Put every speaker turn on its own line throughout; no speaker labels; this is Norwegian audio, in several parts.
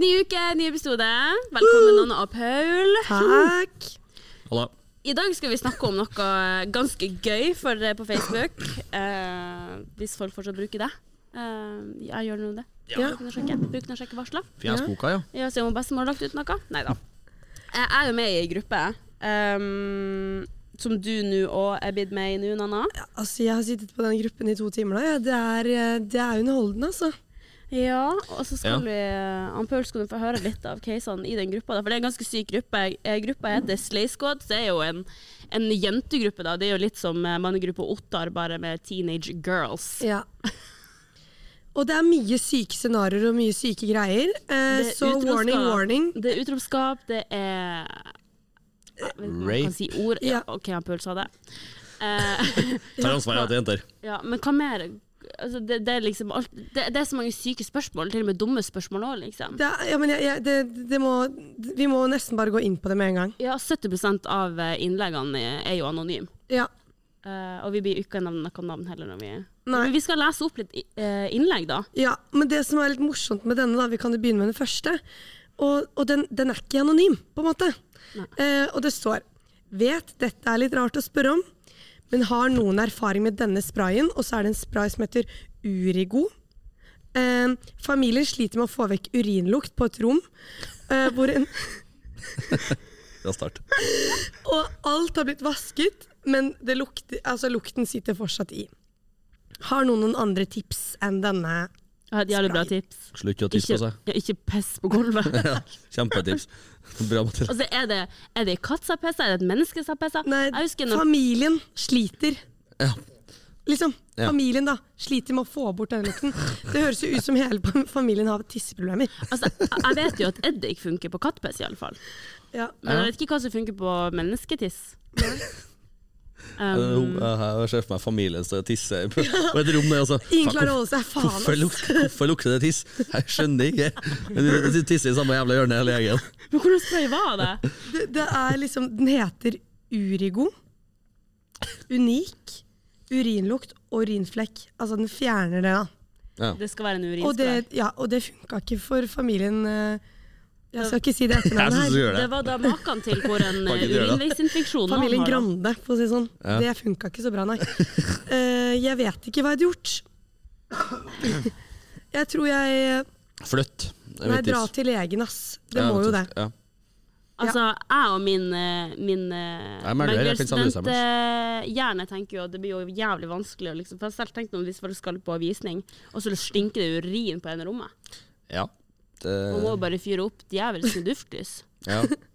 uke, ny episode. Velkommen, Anna og Paul.
Takk.
Halla.
I dag skal vi snakke om noe ganske gøy for, på Facebook. eh, hvis folk fortsatt bruker det. Eh, jeg gjør nå det.
Ja.
Bruk den og sjekke. Bruk den og sjekke varsler.
Fjesboka, ja.
Ja, se om bestemor har lagt ut noe. Nei da. Eh, Jeg er jo med i ei gruppe ehm, som du nå òg er blitt med i nå, Nanna.
Ja, altså, jeg har sittet på den gruppen i to timer nå. Ja. Det, er, eh, det er underholdende, altså.
Ja, og så skal
Ja.
vi Ann Paul skal du få høre litt av casene i den gruppa. da, For det er en ganske syk gruppe. Eh, Gruppa heter Slay Squad. så Det er jo en, en jentegruppe, da. Det er jo litt som eh, mannegruppa Ottar, bare med teenage girls.
Ja. Og det er mye syke scenarioer og mye syke greier. Eh,
Det er
så
utroskap.
warning, warning.
Det er utroskap, det er Jeg vet ikke om jeg
Rape.
kan si ord. Ja,
Ja.
OK, Ann Paul sa det. Eh,
Tar ansvaret til jenter.
Ja, men hva mer? Altså, det, det, er liksom alt, det, det er så mange syke spørsmål, til og med dumme spørsmål òg, liksom.
Det er, ja, men jeg, jeg, det, det må, vi må nesten bare gå inn på det med en gang.
Ja, 70 av eh, innleggene er jo anonyme.
Ja.
Eh, og vi blir jo ikke nevnt noe navn heller. Når vi
Nei.
Men vi skal lese opp litt i- eh, innlegg, da.
ja. Men det som er litt morsomt med denne, da, vi kan jo begynne med den første. Og, og den, den er ikke anonym, på en måte. Eh, og det står Vet dette er litt rart å spørre om, men har noen erfaring med denne sprayen? Og så er det en spray som heter Urigo. Eh, familien sliter med å få vekk urinlukt på et rom. Eh, hvor en,
Ja, start.
og alt har blitt vasket, men det lukter, altså, lukten sitter fortsatt i. Har noen noen andre tips enn denne?
Jeg har et jævlig bra
Spray.
tips.
Slutt å tisse
Ikke,
på seg.
ja, ikke piss på gulvet.
Kjempetips. Bra, Mathilde.
altså, er det, er det en katt som har pissa? Er det et menneske som har pissa?
Nei,
Jeg husker når
familien sliter.
Ja.
Liksom,
Ja.
Familien da, sliter med å få bort denne lukten. Det høres jo ut som hele familien har tisseproblemer.
altså, jeg- Jeg vet jo at eddik funker på kattpiss, iallfall.
Ja.
Men
Ja.
jeg vet ikke hva som funker på mennesketiss.
Um, jeg ser for meg familien som tisser på på et rom der, altså.
Ingen
Faen,
klarer å holde
hvorf-
seg. Faen,
Hvorfor
ass.
lukter, hvorfor lukter det tiss? Jeg skjønner ikke. Men de- De tisser i samme jævla hjørne hele gjengen.
Men hvordan spray var det?
Det, det er liksom Den heter Urigo. Unik. Urinlukt og urinflekk. Altså, den fjerner det, da.
Ja.
Det skal være en
Og det,
urinspray.
ja, og det funka ikke for familien eh, Jeg skal ikke si det
Jeg
etternavnet
syns
her.
du gjør
Det
det.
var da maken til hvor en
Kan
eh,
ikke du gjøre det?
urinveisinfeksjon man
Familien
har. da.
Grande, for å si det sånn.
Ja.
Det funka ikke så bra, nei. Eh, jeg vet ikke hva jeg hadde gjort. Jeg tror jeg
Flytt. Det er
Nei,
mitt
dra
tips.
til legen, ass. Det
Ja,
må jo det.
rett og slett. Ja.
Altså, jeg og min, eh, min eh,
Jeg er megler, jeg kan ikke samle sammen.
eh, hjerne tenker jo at det blir jo jævlig vanskelig å liksom For jeg har selv tenkte om hvis folk skal på visning, og så stinker det urin på en rommet.
Ja.
Man må jo
Det,
bare fyre opp djevelsk med duftlys.
ja.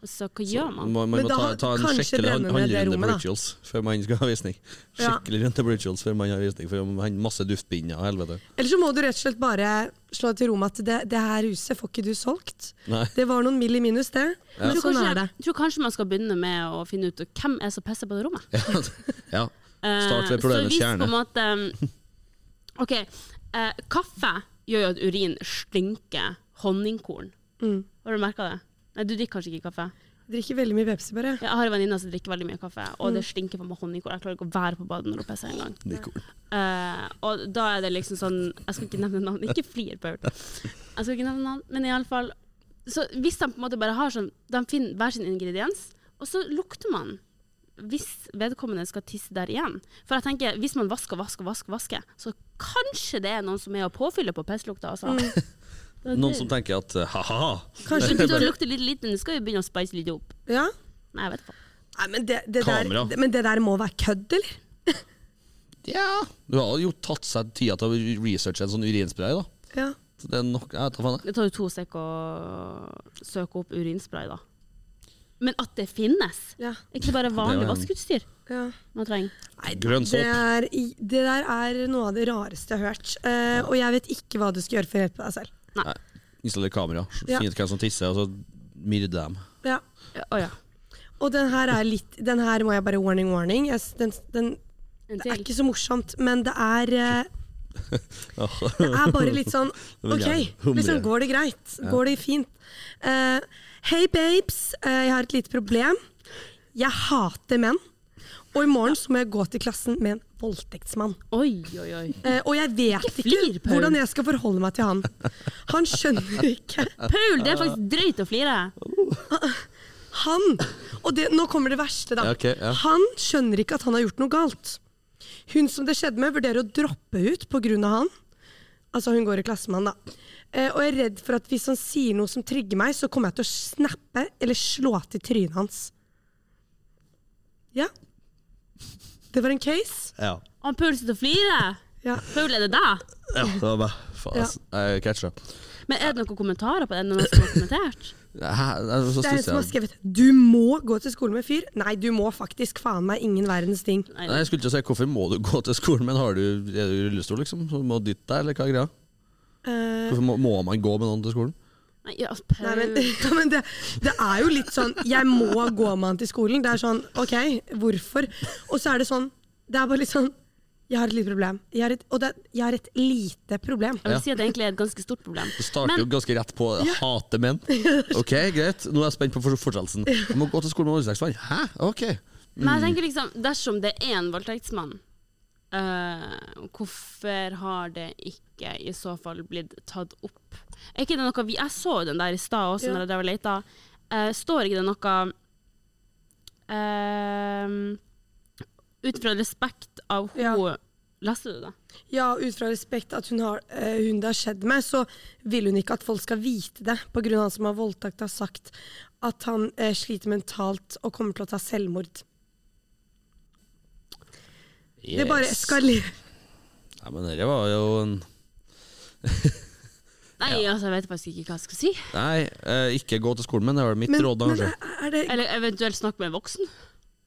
Så hva gjør man?
Man, man
Men
må
da
ta,
har-
ta en
kanskje
skikkelig
brenne
hand-
ned det
handlerunde
rommet, da.
Bridgels før man skal ha visning.
Ja.
Skikkelig runde Bridgels før man har visning, for man har masse duftbind og helvete.
Eller så må du rett og slett bare slå til ro med at det, det her huset får ikke du solgt.
Nei.
Det var noen mill i minus, det.
Jeg tror,
Sånn
kanskje,
er det.
jeg tror kanskje man skal begynne med å finne ut hvem er som pisser på det rommet.
Ja. ja.
Eh,
Start ved
Så hvis
problemets
på en
kjerne.
måte um, Ok, eh, kaffe gjør jo at urin stinker honningkorn.
Mm.
Har du merka det? Nei, du drikker kanskje ikke kaffe.
Drikker veldig mye Pepsi, bare.
Jeg har en venninne som drikker veldig mye kaffe, og det stinker for meg honningkorn. Jeg klarer ikke å være på badet når hun pisser engang.
Det er cool.
Eh, og da er det liksom sånn Jeg skal ikke nevne navn, ikke flir, Paul. Jeg skal ikke nevne navn, men iallfall Så hvis de på en måte bare har sånn De finner hver sin ingrediens, og så lukter man hvis vedkommende skal tisse der igjen. For jeg tenker, hvis man vasker, vasker, vasker, vasker, så kanskje det er noen som er å påfylle på pisslukta, altså. Det er
Noen
det.
som tenker at eh, ha-ha,
Kanskje det
Kanskje
lukter litt lite, men det skal jo begynne å spice litt opp.
Ja?
Nei, jeg vet ikke.
Nei, men det, det der,
Kamera.
det- men det der må være kødd, eller?
ja. Du har jo tatt seg tida til å researche en sånn urinspray, da.
Ja.
Så det er nok Jeg tar faen, jeg.
Det tar jo to sek å søke opp urinspray, da. Men at det finnes!
ja.
Ikke bare vanlig
Det var en-
vaskeutstyr
ja.
man trenger.
Nei,
Grønn
det,
såpe.
er, i- det der er noe av det rareste jeg har hørt. Eh, og jeg vet ikke hva du skal gjøre for å hjelpe deg selv.
Nei. Installer kamera,
Ja.
finn ut hvem som tisser, og så myrde dem.
Ja.
Å ja.
Og den her er litt Den her må jeg bare warning, warning. Jeg, s- den, den,
En
det er
til.
ikke så morsomt, men det er eh, Det er bare litt sånn
vil
OK,
jeg humre.
liksom, går det greit? Går det fint? Eh, Hei, babes. eh, jeg har et lite problem. Jeg hater menn. Og i morgen så må jeg gå til klassen med en voldtektsmann.
Oi, oi, oi.
Eh, og jeg vet
Ikke
ikke,
flir, Paul.
hvordan jeg skal forholde meg til han. Han skjønner ikke.
Paul, det er faktisk drøyt å flire.
Han Og det, nå kommer det verste, da.
Ja, ok, ja.
Han skjønner ikke at han har gjort noe galt. Hun som det skjedde med, vurderer å droppe ut pga. han. Altså, hun går i klasse med han, da. Eh, og jeg er redd for at hvis han sier noe som trigger meg, så kommer jeg til å snappe eller slå til trynet hans. Ja. Det var en case.
Ja.
Og Paul sitter og flirer.
Ja.
Paul, er det deg?
ja. Det var bare Faen,
Ja.
ass. Jeg catcha.
Men er det noen kommentarer på det? Er det Noen som har kommentert?
Så
Det er en
stusser
som har
jeg.
skrevet 'Du må gå til skolen med fyr'. Nei, du må faktisk faen meg ingen verdens ting.
Nei,
Nei, jeg skulle ikke si hvorfor må du gå til skolen, men har du, er du i rullestol, liksom? Så må du dytte deg, eller hva er greia?
Eh,
Hvorfor må, må man gå med noen til skolen?
Nei, ja, altså, Paul.
nei, men, ja, men det, det er jo litt sånn 'jeg må gå med han til skolen'. Det er sånn 'ok, hvorfor?' Og så er det sånn Det er bare litt sånn 'jeg har et lite problem'. Jeg har et, og det, er- jeg har et lite problem.
Jeg
Ja.
vil si at det egentlig er et ganske stort problem.
Du starter
Men-
jo ganske rett på jeg hater menn. Ok, greit. Nå er jeg spent på for- fortsettelsen. Jeg må gå til skolen med voldtektsmann. Hæ? Ok.
Men
Mm.
jeg tenker liksom, dersom det er en voldtektsmann, eh, hvorfor har det ikke i så fall blitt tatt opp? Er ikke det noe vi, Jeg så jo den der i stad også,
Ja.
når jeg drev og leta. Eh, står ikke det noe uh, Ut fra respekt av hun
Ja.
Leste du det?
Ja, ut fra respekt at hun, har, eh, hun det har skjedd med, så vil hun ikke at folk skal vite det. På grunn av han som har voldtakt, har sagt at han eh, sliter mentalt og kommer til å ta selvmord. Det bare
Yes.
eskalerer.
Nei, men dette var jo en
Nei, altså, jeg vet faktisk ikke hva jeg skal si.
Nei, eh, ikke gå til skolen, men det var mitt
Men,
råd, da,
men
kanskje.
er er det
Eller eventuelt snakke med en voksen.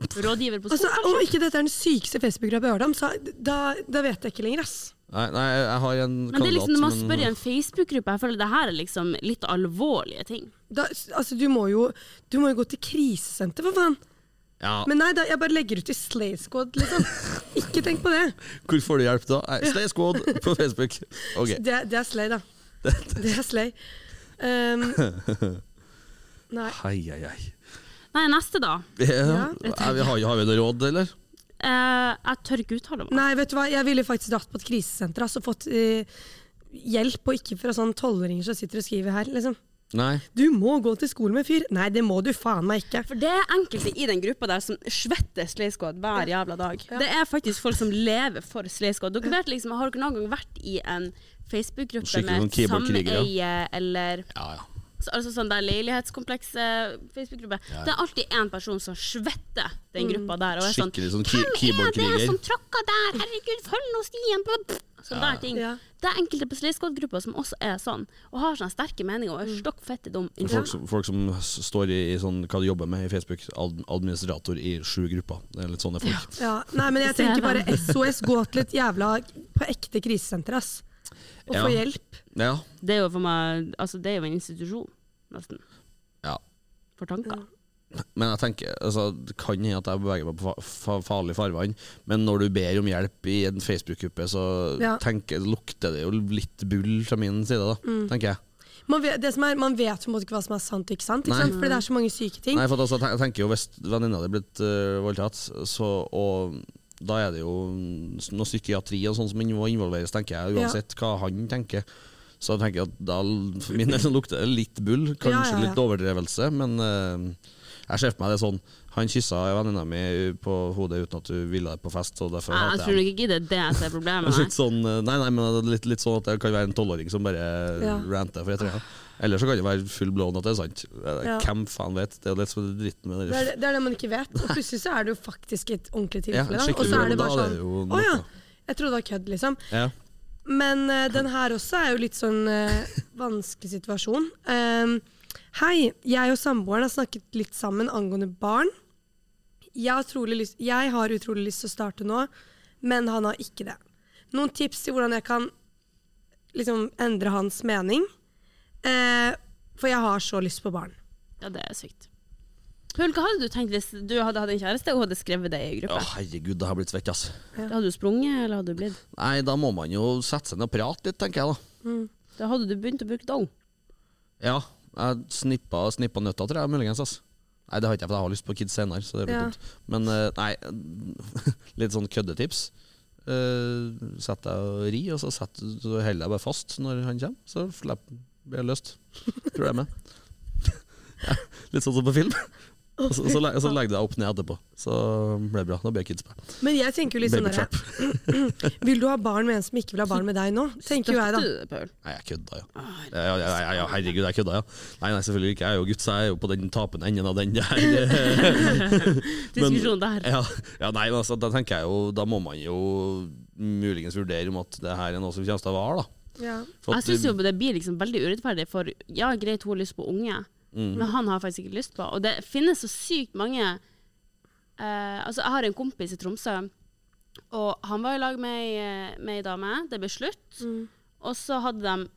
Rådgiver på
Altså,
skolen.
Om ikke dette er den sykeste Facebook-gruppa jeg har hørt om, så da, da vet jeg ikke lenger. ass.
Nei, nei, jeg har en
Men det er liksom når man
som en-
spør i en Facebook-gruppe, jeg føler det her er liksom litt alvorlige ting.
Da, altså, du, må jo, du må jo gå til krisesenter, for faen.
ja.
Men nei, da, jeg bare legger ut i Slay Squad, liksom. ikke tenk på det.
Hvor får du hjelp da? Nei, Stay Squad på Facebook. Ok.
Det, det er Slay, da. Det er Slay. Um, nei.
Hei, hei, hei.
Nei, neste da.
Ja.
jeg
Er vi- Har, har vi noe råd, eller?
Eh, jeg tør ikke uttale meg.
nei, vet du hva, jeg ville faktisk dratt på et krisesenter ass, og fått eh, hjelp, og ikke fra sånne tolvåringer som sitter og skriver her, liksom.
Nei.
Du må gå til skolen med fyr. Nei, det må du faen meg ikke.
For det er enkelte i den gruppa der som svetter Sleiskod hver jævla dag. Det er faktisk folk som lever for Sleiskod. Dere vet liksom, Har dere noen gang vært i en Facebook-gruppe
Skikkelig sånn
med
keyboardkrigere.
sameie eller
Ja, ja.
så- altså sånn der leilighetskompleks-Facebook-gruppe? Det er alltid én person som svetter den gruppa der. Og er sånn
Skikkelig sånn
Hvem
key-
er det
keyboardkriger.
som tråkka der? Herregud, følg nå stien! Blah, blah. Sånne der ting.
Ja.
Det er enkelte på Sleiskod-gruppa som også er sånn, og har sånne sterke meninger og er stokk fette dum.
Folk som, folk som s- står i, i sånn, hva de jobber med i Facebook, ad, administrator i sju grupper. Det er litt sånne folk.
Ja, nei, men jeg
Ser jeg
tenker bare SOS, gå til et jævla på ekte krisesenter, ass. Og få
Ja.
hjelp.
Ja.
Det er jo for meg Altså, det er jo en institusjon, nesten,
ja.
for
Mm.
tanker.
Men jeg tenker, altså, det kan hende at jeg beveger meg på fa fa farlig farvann, men når du ber om hjelp i en Facebook-gruppe, så
Ja.
tenker, lukter det jo litt bull fra min side, da,
Mm.
tenker jeg.
Man vet, det som er, man vet jo på en måte ikke hva som er sant og ikke sant, ikke
Nei.
sant? fordi det er så mange syke ting.
Nei, for at altså, jeg ten- jeg tenker jo Hvis venninna di er blitt øh, voldtatt, så, og da er det jo noe psykiatri og sånn som må involveres, tenker jeg,
Ja.
uansett hva han tenker. Så jeg tenker jeg at da l- for min del så lukter det litt bull, kanskje
Ja, ja, ja.
litt overdrevelse, men øh, jeg ser for meg det sånn Han kyssa venninna mi på hodet uten at hun ville det på fest, så
Jeg,
derfor
jeg
hater
tror
jeg ham.
nok ikke det er det som er problemet.
Litt
Nei.
sånn, øh, nei, nei, men det er litt, litt sånn at det kan være en tolvåring som bare
Ja.
ranter for et eller annet. Eller så kan det være full blown at det er sant.
Ja.
Hvem faen vet? Det er jo litt sånn dritten med
Det
det
er, det er det man ikke vet. Og plutselig så er det jo faktisk et ordentlig
Ja,
tilfelle. da.
skikkelig
og så er det
bra,
bare
da
sånn
er det jo
Å ja,
noe».
jeg trodde det var kødd, liksom.
Ja.
Men eh, den her også er jo litt sånn eh, vanskelig situasjon. Ehm, hei, jeg og samboeren har snakket litt sammen angående barn. Jeg har, utrolig lyst, jeg har utrolig lyst til å starte nå, men han har ikke det. Noen tips til hvordan jeg kan liksom, endre hans mening. Eh, for jeg har så lyst på barn.
Ja, det er sykt. Paul, hva hadde du tenkt hvis du hadde hatt en kjæreste og hun hadde skrevet det i
Å,
gruppa?
herregud, det har blitt svett, ass.
Da Hadde du sprunget, eller hadde du blitt?
Nei, da må man jo sette seg ned og prate litt, tenker jeg da.
Da hadde du begynt å bruke dong.
Ja, jeg snippa, snippa nøtta, tror jeg, muligens, ass. Nei, det har ikke jeg, for jeg har lyst på kids senere. Så det blir
Ja.
dumt. Men eh, nei, litt sånn køddetips. Eh, sett deg og ri, og så, sett, så holder deg bare fast når han kommer. Så slipp, blir det løst. Problemet. Ja, litt sånn som på film. Og så, så, leg- så legger du deg opp ned etterpå. Så blir det bra. Da blir det kids på.
Men jeg tenker jo litt sånn der,
Babytrap.
Vil du ha barn med en som ikke vil ha barn med deg nå? Tenker jo jeg, da.
Støtter du det, Paul?
Nei, jeg kødda, ja.
Åh,
Ja, ja, ja, ja, ja, herregud, jeg kødda, ja. Nei, nei, selvfølgelig ikke. Jeg er jo gutt, så jeg er jo på den tapende enden av den der. eh,
Diskusjon der.
Ja, ja nei, men altså, da tenker jeg jo Da må man jo muligens vurdere om at det her er noe som kommer til å vare, da.
Ja.
For
Jeg
at-
syns jo det blir liksom veldig urettferdig, for ja, greit, hun har lyst på unge,
Mm.
men han har faktisk ikke lyst på. Og det finnes så sykt mange eh, Altså, jeg har en kompis i Tromsø, og han var i lag med ei- med ei dame. Det ble slutt. Og så hadde de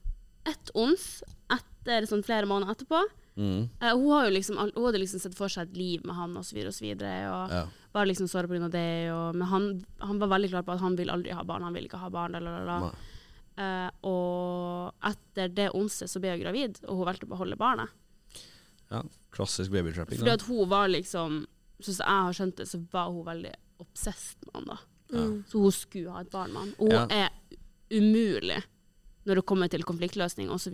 ett ons etter sånn flere måneder etterpå.
Mm,
Eh, hun, har jo liksom, all- hun hadde liksom sett for seg et liv med han osv. Og, så videre, og
ja.
var liksom såra pga. det. Og, men han, han var veldig klar på at han vil aldri ha barn, han vil ikke ha barn. La, la, la, la.
Nei.
Eh, og etter det onsdag så ble hun gravid, og hun valgte å beholde barnet.
ja. Klassisk babytrapping.
Fordi
da.
at hun var liksom Sånn som jeg har skjønt det, så var hun veldig obsessed med han da.
mm,
Så hun skulle ha et barn med han. Og hun er umulig når det kommer til konfliktløsning osv.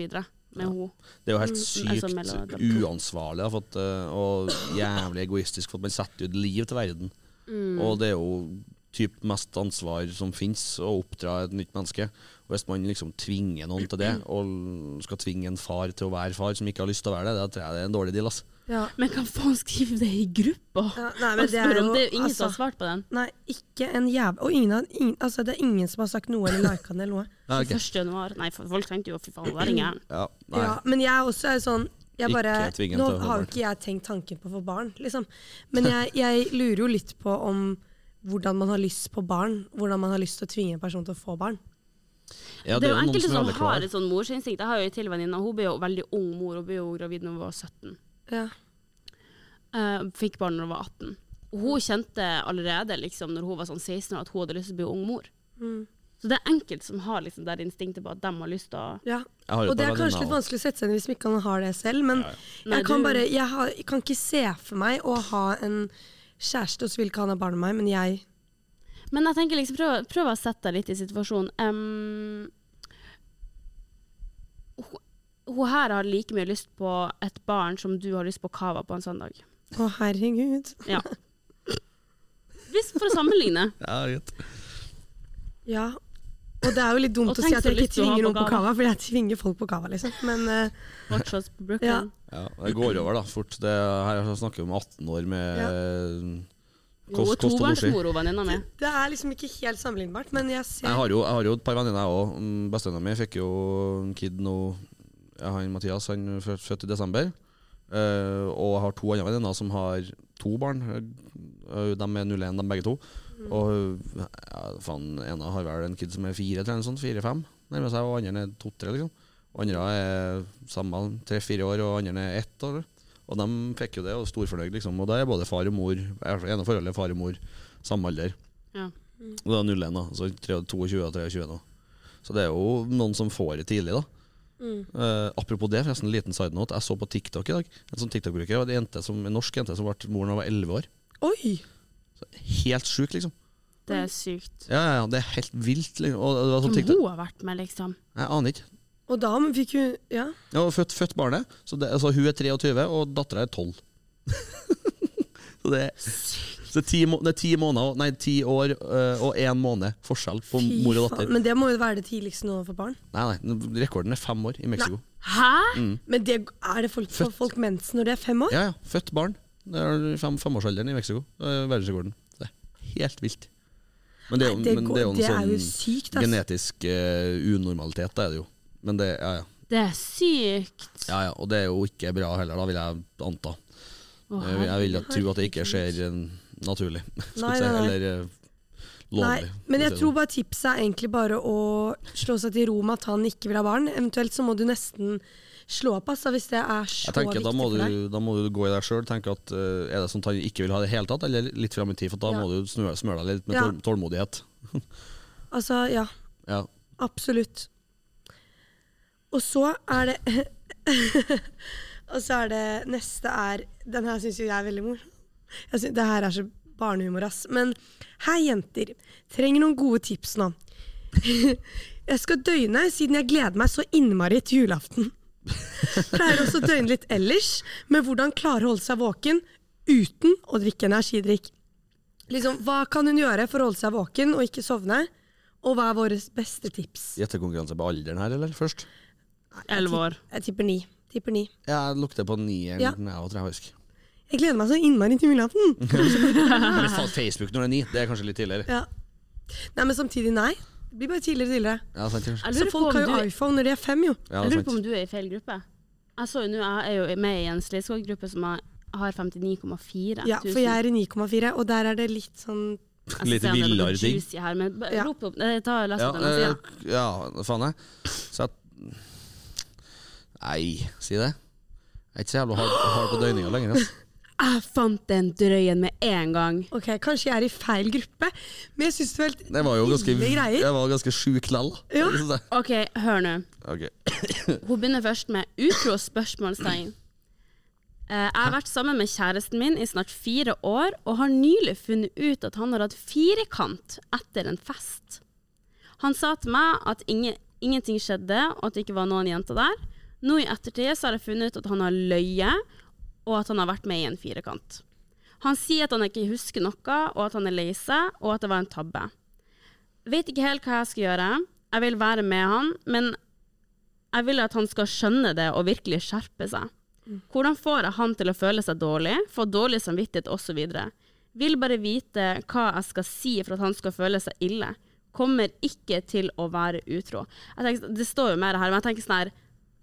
med hun.
Det er jo helt
altså, mellom
sykt
dem.
uansvarlig da, for at, eh, og jævlig egoistisk, for at man setter ut liv til verden.
Mm.
Og det er jo typ mest ansvar som finnes, å oppdra et nytt menneske. Og hvis man liksom tvinger noen til det, og skal tvinge en far til å være far som ikke har lyst til å være det, da tror jeg det er en dårlig deal. ass.
Ja.
Men hva faen skriver det i gruppa?
Ja, nei, men
Jeg
det
spør
er
om
jo-
det er jo ingen som
altså-
har svart på den.
Nei, ikke en jæv... Og ingen, har- ingen, altså, det er ingen som har sagt noe eller lika den eller noe.
Ja, ok.
1. januar. Nei, for folk tenkte jo fy faen, hun er gæren.
Ja, nei.
Ja, men jeg også er sånn jeg
Ikke
bare,
tvingen
Nå
til å få
har jo
barn.
ikke jeg tenkt tanken på å få barn, liksom. Men jeg, jeg lurer jo litt på om hvordan man har lyst på barn. Hvordan man har lyst til å tvinge en person til å få barn.
Ja,
det er jo
noen
enkelte
er
som
veldig klar.
har et sånn morsinstinkt. Jeg har jo en til venninne, hun ble jo veldig ung mor. Hun ble jo gravid da hun var 17.
Ja.
Eh, fikk barn da hun var 18. Og hun kjente allerede liksom, når hun var sånn 16 år, at hun hadde lyst til å bli ung mor. Så det er enkelte som har liksom, det instinktet på at de har lyst til å
Ja.
Jeg har et
Og det
par
er kanskje
venninner
litt vanskelig å sette seg inn i hvis man ikke har det selv, men
Nei,
jeg, kan
du-
bare, jeg, har, jeg kan ikke se for meg å ha en kjæreste, og så vil ikke han ha barn med meg, men jeg
Men jeg tenker liksom, prøv, prøv å sette deg litt i situasjonen. Em, hun, hun her har like mye lyst på et barn som du har lyst på cava på en søndag.
Å, herregud.
Ja. Hvis for å sammenligne.
Ja, greit.
Ja. Og det er jo litt
Og
dumt å si
tenk
at
så
jeg
lyst
ikke
du har
tvinger
på
noen på
kava.
kava, for jeg tvinger folk på kava, liksom. Men eh,
Fortsatt på Brooklyn.
Ja.
Ja, det går over da, fort. Det, her snakker vi om 18 år med
Ja.
eh,
Hun er
kost, kost og losji.
tobarnsmor, hun venninna mi.
det er liksom ikke helt sammenlignbart, men jeg
Jeg
ser
har jo, jeg har jo et par venninner, jeg òg. Bestevenninna mi fikk jo en kid nå ja, Han Mathias han er født født i desember. Eh, og jeg har to andre venninner som har to barn. Eh, De er 01, de begge to. Og ja, faen, ene har vel en kid som er fire, tror jeg. eller sånn, Fire-fem nærmer seg, og andre er to-tre. liksom. Og andre er samme, tre-fire år, og andre er ett. år. Og de fikk jo det, og storfornøyd, liksom. Og da er både far og mor, i hvert fall ene forholdet er far og mor, samme alder.
Ja.
Og det er 01, da. Så 23 22 og 23 nå. Så det er jo noen som får det tidlig, da.
Mm.
Eh, apropos det, forresten, en liten side note. Jeg så på TikTok i dag. En sånn TikTok-bruker og det er en, jente som, en norsk jente som ble mor da hun var 11 år.
Oi!
Helt sjuk, liksom.
Det er sykt.
Ja, ja, ja, Det er helt vilt. Liksom. Og det var
Som
sånn TikTok.
hun har vært med, liksom.
Jeg aner ikke.
Og da fikk hun Ja.
Ja, hun har født, født barnet. Så det, altså, hun er 23, og dattera er 12. så det, er- så det, er ti, må- det er ti måneder, nei, ti år eh, og én måned forskjell på
Fy
mor og
faen.
datter.
Men det må jo være det tidligste nå for barn.
Nei, nei, Rekorden er fem år i Mexico.
Hæ?!
Men det, er det folk, for
Født.
folk mensen når de er fem år?
Ja, ja. Født barn. Det er fem, femårsalderen i Mexico. Det er Verdensrekorden. Det er helt vilt. Men det er jo,
Nei, det
men
går-
det er jo en
det er
sånn
jo sykt, ass.
genetisk eh, unormalitet, da er det jo. Men det, ja, ja.
Det er sykt.
ja, ja. Og det er jo ikke bra heller, da vil jeg anta.
Å,
Jeg, vil- jeg vil at- tro at det ikke skjer eh, naturlig. skulle
Nei,
jeg si.
nei, nei.
Eller eh,
Nei,
lovlig.
men jeg
skulle jeg si. sånn.
tror bare tipset er egentlig bare å slå seg til ro med at han ikke vil ha barn. Eventuelt så må du nesten slå opp, altså, hvis det er så
jeg tenker,
viktig
da må,
for deg.
du, da må du gå i deg sjøl. tenke at eh, Er det sånt han ikke vil ha i det hele tatt, eller litt fram i tid? For da
Ja.
må du smøre, smøre deg litt med
Ja.
tål- tålmodighet.
Altså, ja.
Ja.
Absolutt. Og så er det Og så er det neste er Den her syns jo jeg er veldig morsom. Jeg synes, det her er så barnehumor, ass. Men hei, jenter. Trenger noen gode tips nå. jeg skal døgne siden jeg gleder meg så innmari til julaften. Pleier også å døgne litt ellers, men hvordan klare å holde seg våken uten å drikke energidrikk. Liksom, Hva kan hun gjøre for å holde seg våken og ikke sovne? Og hva er våre beste tips?
Gjettekonkurranse på alderen her, eller? Først?
Elleve år.
Jeg tipper ni. Tipper ni.
Jeg lukter på nieren,
Ja.
jeg òg, tror jeg. husker.
Jeg gleder meg så innmari til julaften.
Mm. Ah.
Men faen, Facebook når det er ni, det er kanskje litt tidligere.
Ja. Nei, men samtidig nei. Det blir bare tidligere og tidligere.
Ja, sant, kanskje.
Jeg
Så
lurer, på
folk
om,
har jo
du,
iPhone når de er fem, jo.
Ja,
jeg lurer på
sant.
om du er i feil gruppe. Jeg så jo nå, jeg er jo med i en Sleivskog-gruppe som har har 59,4
Ja, for jeg er i 9,4, og der er det litt sånn
Jeg
Litt
ser det er noe
villere ting.
juicy Her, men bare
Ja.
rop opp, eh, ta les
Ja,
opp den. og si det.
eh, ja, faen jeg. Så jeg Nei, si det. Jeg er ikke så jævla hard, hard på døgninga lenger. ass.
Jeg fant den drøyen med en gang.
Ok, kanskje jeg er i feil gruppe, men jeg syns det var helt
Det var jo ganske,
Ville greier.
jeg var ganske sjuk lell.
Ja.
OK, hør nå.
Ok.
Hun begynner først med utro spørsmålstegn. Eh, Jeg har vært sammen med kjæresten min i snart fire år, og har nylig funnet ut at han har hatt firkant etter en fest. Han sa til meg at ingen, ingenting skjedde, og at det ikke var noen jenter der. Nå i ettertid så har jeg funnet ut at han har løyet, og at han har vært med i en firkant. Han sier at han ikke husker noe, og at han er lei seg, og at det var en tabbe. Vet ikke helt hva jeg skal gjøre. Jeg vil være med han, men jeg vil at han skal skjønne det og virkelig skjerpe seg. Hvordan får jeg han til å føle seg dårlig, få dårlig samvittighet osv.? Vil bare vite hva jeg skal si for at han skal føle seg ille. Kommer ikke til å være utro. Jeg tenker, det står jo mer her, men jeg tenker sånn her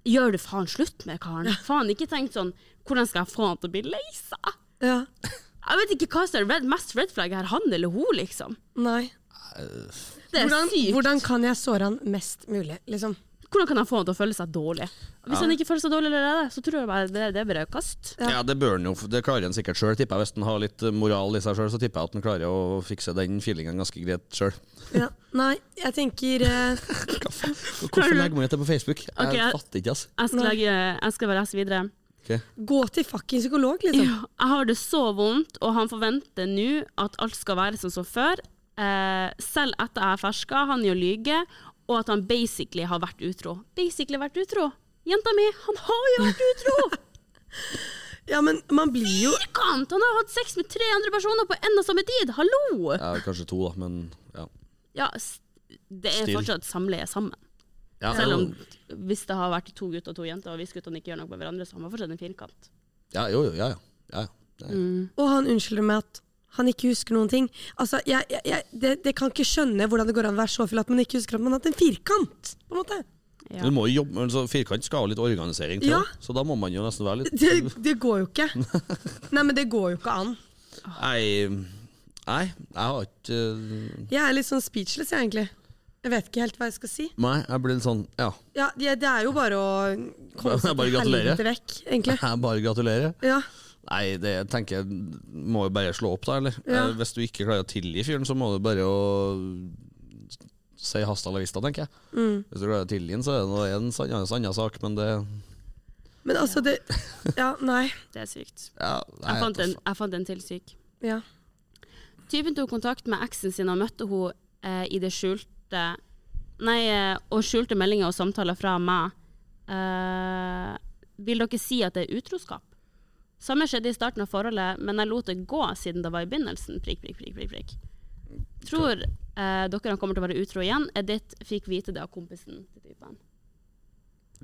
Gjør du faen slutt med karen? Faen, ikke tenk sånn Hvordan skal jeg få han til å bli lei seg?
Ja.
Jeg vet ikke hva som er red, mest red flagg her, han eller hun, liksom.
Nei.
Det er
Hvordan,
sykt. Hvordan,
hvordan kan jeg såre han mest mulig, liksom?
kan jeg få han til å føle seg dårlig? Hvis han ikke føler seg dårlig allerede, så tror jeg bare det, det er bare kast.
Ja. det bør han jo. Det klarer han sikkert sjøl, tipper jeg. Hvis han har litt eh, moral i seg sjøl, så tipper jeg at han klarer å fikse den feelingen ganske greit sjøl.
Ja. Nei, jeg tenker eh,
Hvorfor legger man ut det på Facebook? Jeg
Ok, jeg-
fatter ikke, altså.
Jeg skal, legge, jeg skal bare lese videre.
Ok.
Gå til fucking psykolog, liksom.
Ja, jeg har det så vondt, og han forventer nå at alt skal være som som før. Eh, selv etter jeg er ferska, han gjør lyge, og at han basically har vært utro. Basically vært utro. Jenta mi, han har jo vært utro!
Ja, men man blir jo
Firkant! Han har hatt sex med 300 personer på en og samme tid! Hallo!
Ja, kanskje to, da, men ja.
Ja, s- det er
Still.
fortsatt samleie sammen.
ja
Selv om
jo,
hvis det har vært to gutter og to jenter, og hvis guttene ikke gjør noe med hverandre, så har man fortsatt en firkant.
ja, jo, jo, ja, ja. ja, ja. Det er-
Mm,
Og han unnskylder med at han ikke husker noen ting. Altså, jeg, jeg, jeg, det, det kan ikke skjønne hvordan det går an å være så full at man ikke husker at man har hatt en firkant. på en måte.
Ja.
Du må jo jobbe, altså, firkant skal ha litt organisering til,
Ja.
da. så da må man jo nesten være litt
Det, det går jo ikke. Nei, men det går jo ikke an.
Nei, nei jeg har ikke eh,
Jeg er litt sånn speechless, jeg, egentlig. Jeg vet ikke helt hva jeg skal si.
Nei, jeg blir litt sånn Ja.
Ja, det, det er jo bare å komme seg
Bare
til
gratulerer.
helvete vekk, egentlig.
Jeg bare gratulerer.
Ja.
Nei, det tenker jeg må jo bare slå opp, da. eller?
Ja.
Eh, Hvis du ikke klarer å tilgi fyren, så må du bare å si hasta la vista, tenker jeg.
Mm.
Hvis du klarer å tilgi den, så er det noe- en sann- annen sak, men det
Men altså, det Ja, nei.
Det er sykt.
ja, nei,
Jeg fant
vet
en,
da faen.
jeg fant en til syk.
Ja.
Typen tok kontakt med eksen sin og møtte hun eh, i det skjulte Nei, eh, og skjulte meldinger og samtaler fra meg. Eh, vil dere si at det er utroskap? Samme skjedde i starten av forholdet, men jeg lot det gå siden det var i begynnelsen. Prikk, prikk, prikk, prikk, prikk. Tror eh, dere han kommer til å være utro igjen? Edith fikk vite det av kompisen til typen.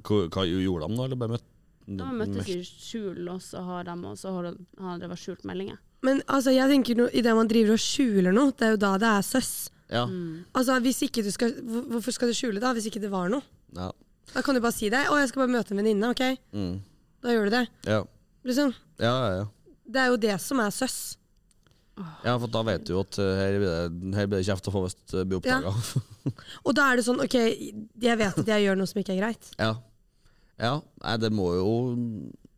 Hva, hva gjorde de da, eller bare møtte
De møttes i skjul, og så har de og så har de- har han drevet skjult meldinger.
Men altså, jeg tenker no, idet man driver og skjuler noe, det er jo da det er søss.
Ja.
Altså, hvis ikke du skal, hvor- Hvorfor skal du skjule da, hvis ikke det var noe?
ja.
Da kan du bare si det. 'Å, jeg skal bare møte en venninne', OK?
Mm.
Da gjør du det.
Ja.
Liksom.
Ja, ja, ja.
Det er jo det som er søss.
ja, for da vet du jo at eh, her blir det, her blir det kjeft å få eh, hvis det blir
Ja.
oppdaga.
Og da er det sånn, OK, jeg vet at jeg gjør noe som ikke er greit.
Ja. ja. Nei, det må jo,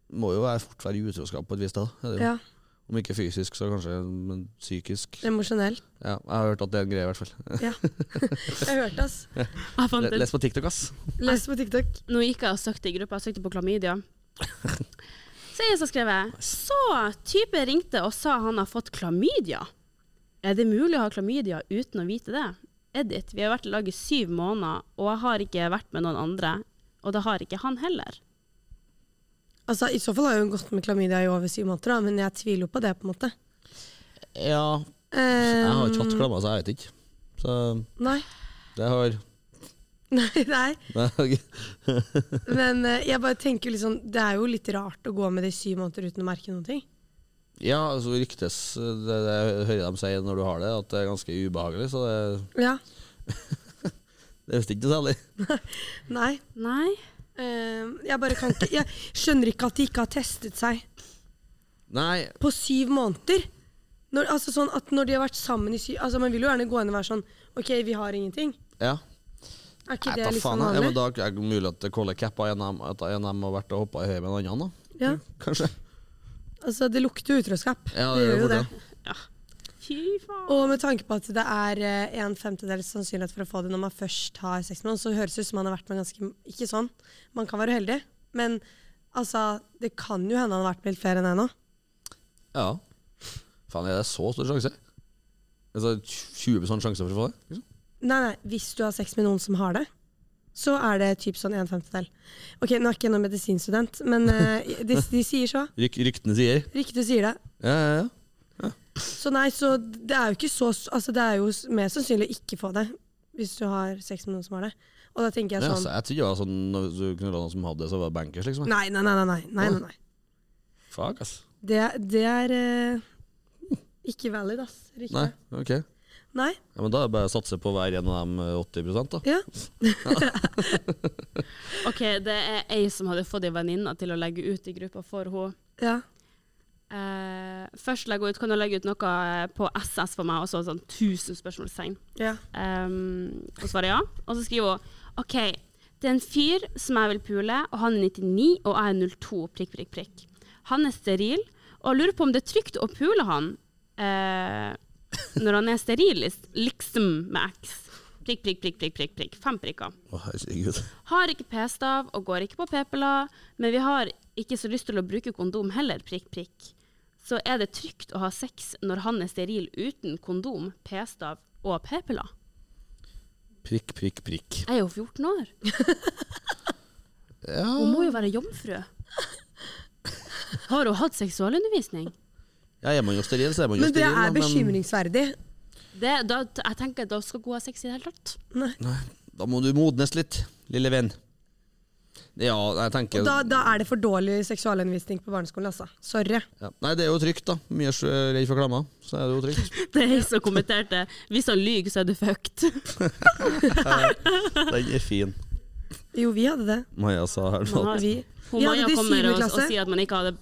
må jo være fort være utroskap på et vis, da. Det er det jo.
Ja,
Om ikke fysisk, så kanskje men psykisk.
Emosjonell.
Ja, jeg har hørt at det er en greie, i hvert fall.
Ja. Jeg hørte, ass.
Jeg fant
Le-
en
Les på TikTok, ass.
Les på TikTok.
Nå gikk jeg og søkte i gruppa, jeg søkte på klamydia. Så er det som skrevet Så type ringte og sa han har fått klamydia. Er det mulig å ha klamydia uten å vite det? Edith, vi har vært i lag i syv måneder, og jeg har ikke vært med noen andre. Og det har ikke han heller.
Altså, I så fall har hun gått med klamydia i over syv måneder, da, men jeg tviler jo på det. på en måte. Ehm,
Ja, jeg har ikke hatt
eh,
klammer, så jeg vet ikke. Så
Nei,
det har
nei, nei.
Nei,
Men eh, jeg bare tenker liksom, det er jo litt rart å gå med det i syv måneder uten å merke noen ting.
Ja, altså ryktes det, det hører jeg dem si når du har det, at det er ganske ubehagelig, så det,
Ja,
det er visst ikke noe særlig.
nei.
Nei.
Eh, jeg bare kan ikke, jeg skjønner ikke at de ikke har testet seg
Nei,
på syv måneder. Når, altså sånn at når de har vært sammen i syv altså Man vil jo gjerne gå inn og være sånn OK, vi har ingenting.
ja.
Er ikke
Nei,
det
ta
liksom
faen, jeg. ja, men
vanlig?
da er det mulig at Kolle Kappa en av at en av dem har vært og hoppa i høyet med en annen, da.
Ja,
Kanskje.
altså Det lukter utroskap.
Ja,
det gjør jo
fort
det.
Ja. Fy faen.
Og med tanke på at det er eh, en femtedels sannsynlighet for å få det når man først har sex med noen, så høres det ut som man har vært med ganske Ikke sånn, man kan være uheldig, men altså Det kan jo hende han har vært med litt flere enn en òg.
Ja. Faen, er det så stor sjanse? Altså, 20 sjanse for å få det? liksom?
Nei, nei, hvis du har sex med noen som har det, så er det typ sånn en femtedel. Ok, nå er ikke jeg noen medisinstudent, men eh, de, de sier så.
Ryk, ryktene sier.
Ryktet sier det.
Ja, ja, ja.
Så nei, så det er jo ikke så Altså, det er jo s- mer sannsynlig å ikke få det hvis du har sex med noen som har det. Og da tenker jeg
Ja,
sånn
altså, jeg trodde det var sånn når du knulla noen som hadde det, så var det bankers, liksom.
Nei, nei, nei. nei, nei, nei, nei, nei.
Fuck, ass.
Det, det er eh, ikke valid, ass. Riktig.
Nei, ok. Ja,
Nei.
men da er det bare å satse på hver en av dem eh, 80 da.
Ja.
OK, det er ei som hadde fått ei venninne til å legge ut i gruppa for henne.
ja.
Eh, først legge ut, kan du legge ut noe eh, på SS for meg, og så sånn 1000 spørsmålstegn.
ja.
Um, og svarer ja. Og så skriver hun OK, det er en fyr som jeg vil pule, og han er 99, og jeg er 02, prikk, prikk, prikk. Han er steril, og jeg lurer på om det er trygt å pule han eh, når han er steril, liksom med X. Prikk, prikk, prikk, prikk, prikk, prikk. Fem prikker.
Å, herregud.
Har ikke p-stav og går ikke på p-piller, men vi har ikke så lyst til å bruke kondom heller, prikk, prikk. Så er det trygt å ha sex når han er steril uten kondom, p-stav og p-piller?
Prikk, prikk, prikk.
Jeg er jo 14 år.
Ja.
Hun må jo være jomfru. Har hun hatt seksualundervisning?
ja, er man jo steril, så er man jo
Men det
steril. da,
er bekymringsverdig.
Det, da, jeg tenker at da skal hun ha sex i det hele tatt.
Nei.
Da må du modnes litt, lille venn. Ja, jeg tenker
Da, da er det for dårlig seksualundervisning på barneskolen, altså. Sorry.
ja. Nei, det er jo trygt, da. Mye er så redd for klemmer, så er det jo trygt.
Det er jeg som kommenterte. Hvis han lyver, så er du fucked.
Den er fin.
Jo, vi hadde det.
Maja sa her nå
Man har-
at
Vi,
Hun
vi hadde
Maja
det i
kommer
syvende
og, og
klasse.
sier at man ikke hadde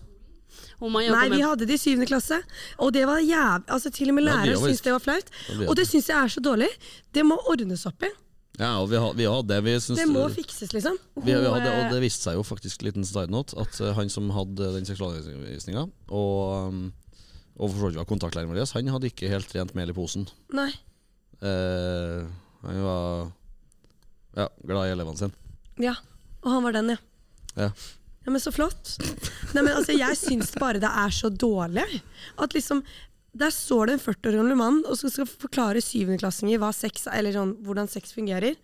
Hun Maja
Nei, vi
kommer
hadde det i syvende klasse, og det var jævlig Altså, til og med
Ja, det
læreren
gjør vi.
syntes det var flaut.
det gjør
Og det syns jeg er så dårlig. Det må ordnes opp i.
Ja, og vi har, vi har det. Vi syns
Det må fikses, liksom.
Vi, vi
Hun,
hadde, og
eh,
det viste seg jo faktisk liten side note at eh, han som hadde den seksualundervisninga, og, um, og for så vidt var kontaktlæreren vår, han hadde ikke helt rent mel i posen.
Nei.
Eh, han var ja, glad i elevene sine.
Ja. Og han var den, ja.
Ja.
Ja, men så flott. Nei, men altså, jeg syns bare det er så dårlig. At liksom, Der står det en 40 år gammel mann og som skal forklare syvendeklassinger hva sex, eller sånn, hvordan sex fungerer.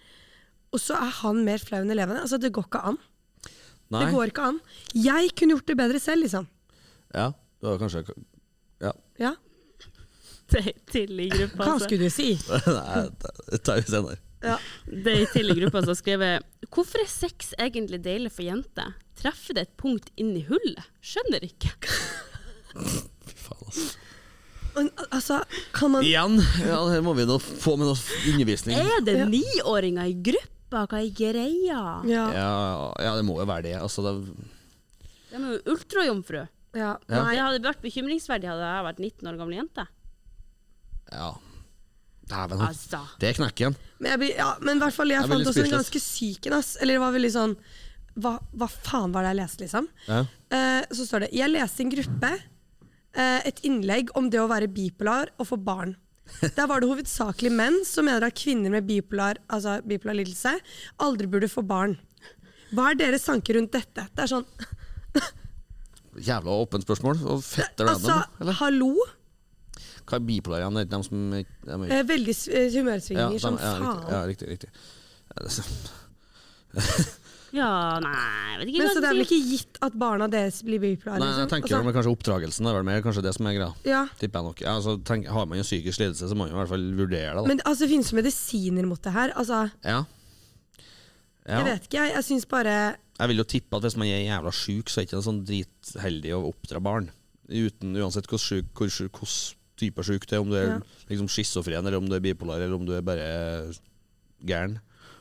Og så er han mer flau enn elevene. Altså, det går ikke an.
Nei,
Det går ikke an. Jeg kunne gjort det bedre selv, liksom.
ja, det var kanskje Ja.
Ja.
Det er til i gruppa.
Hva
altså.
skulle du si?
Nei, det tar vi senere.
Ja.
Det er til i gruppa som har skrevet Hvorfor er sex egentlig deilig for jenter? Treffer det et punkt inn i hullet? Skjønner ikke.
Fy faen, altså.
Men, al- altså, kan man
Igjen! Ja, her må vi nå få med noe undervisning.
Er det niåringer i gruppa? Hva er greia?
Ja. ja.
Ja, ja, det må jo være det. Altså, det
De er jo ultrajomfru.
Nei.
Det hadde vært bekymringsverdig hadde jeg vært 19 år gammel jente.
ja. Dæven, han-
Altså.
det er knekken.
Men, jeg blir, ja, men i hvert fall, jeg
Jeg blir
fant
litt
også en
speechless.
ganske syk en, ass. Eller det var veldig sånn hva, hva faen var det jeg leste, liksom?
Ja.
Eh, så står det Jeg leste i en gruppe eh, et innlegg om det å være bipolar og få barn. Der var det hovedsakelig menn som mener at kvinner med bipolar, altså bipolar lidelse aldri burde få barn. Hva er deres tanker rundt dette? Det er sånn
Jævla åpent spørsmål. Og fetter det
Altså,
dem, eller?
hallo.
Hva er bipolar igjen? Det er ikke dem som ikke- dem er ikke-
Eh, veldig s- eh, humørsvingninger som
dem- ja,
faen.
riktig, ja, riktig. riktig. Ja, det er så-
Ja, nei, jeg vet ikke
Men
hva jeg
Så
skal
det er vel
si.
ikke gitt at barna deres blir bipolare?
Nei, jeg
liksom?
tenker jo, men Kanskje oppdragelsen er vel mer kanskje det som er greia.
Altså, ja.
Tipper jeg nok. Ja, altså, tenk, har man jo psykisk lidelse, så må man jo i hvert fall vurdere det. Da.
Men altså, det finnes jo medisiner mot det her. Altså,
ja.
Jeg
Ja.
vet ikke, jeg, jeg syns bare
Jeg vil jo tippe at hvis man er jævla syk, så er det ikke sånn dritheldig å oppdra barn. Uten, uansett hvor syk, hvor, syk, hvordan type syk det er, om du er
Ja.
liksom schizofren, eller om du er bipolar, eller om du er bare gæren.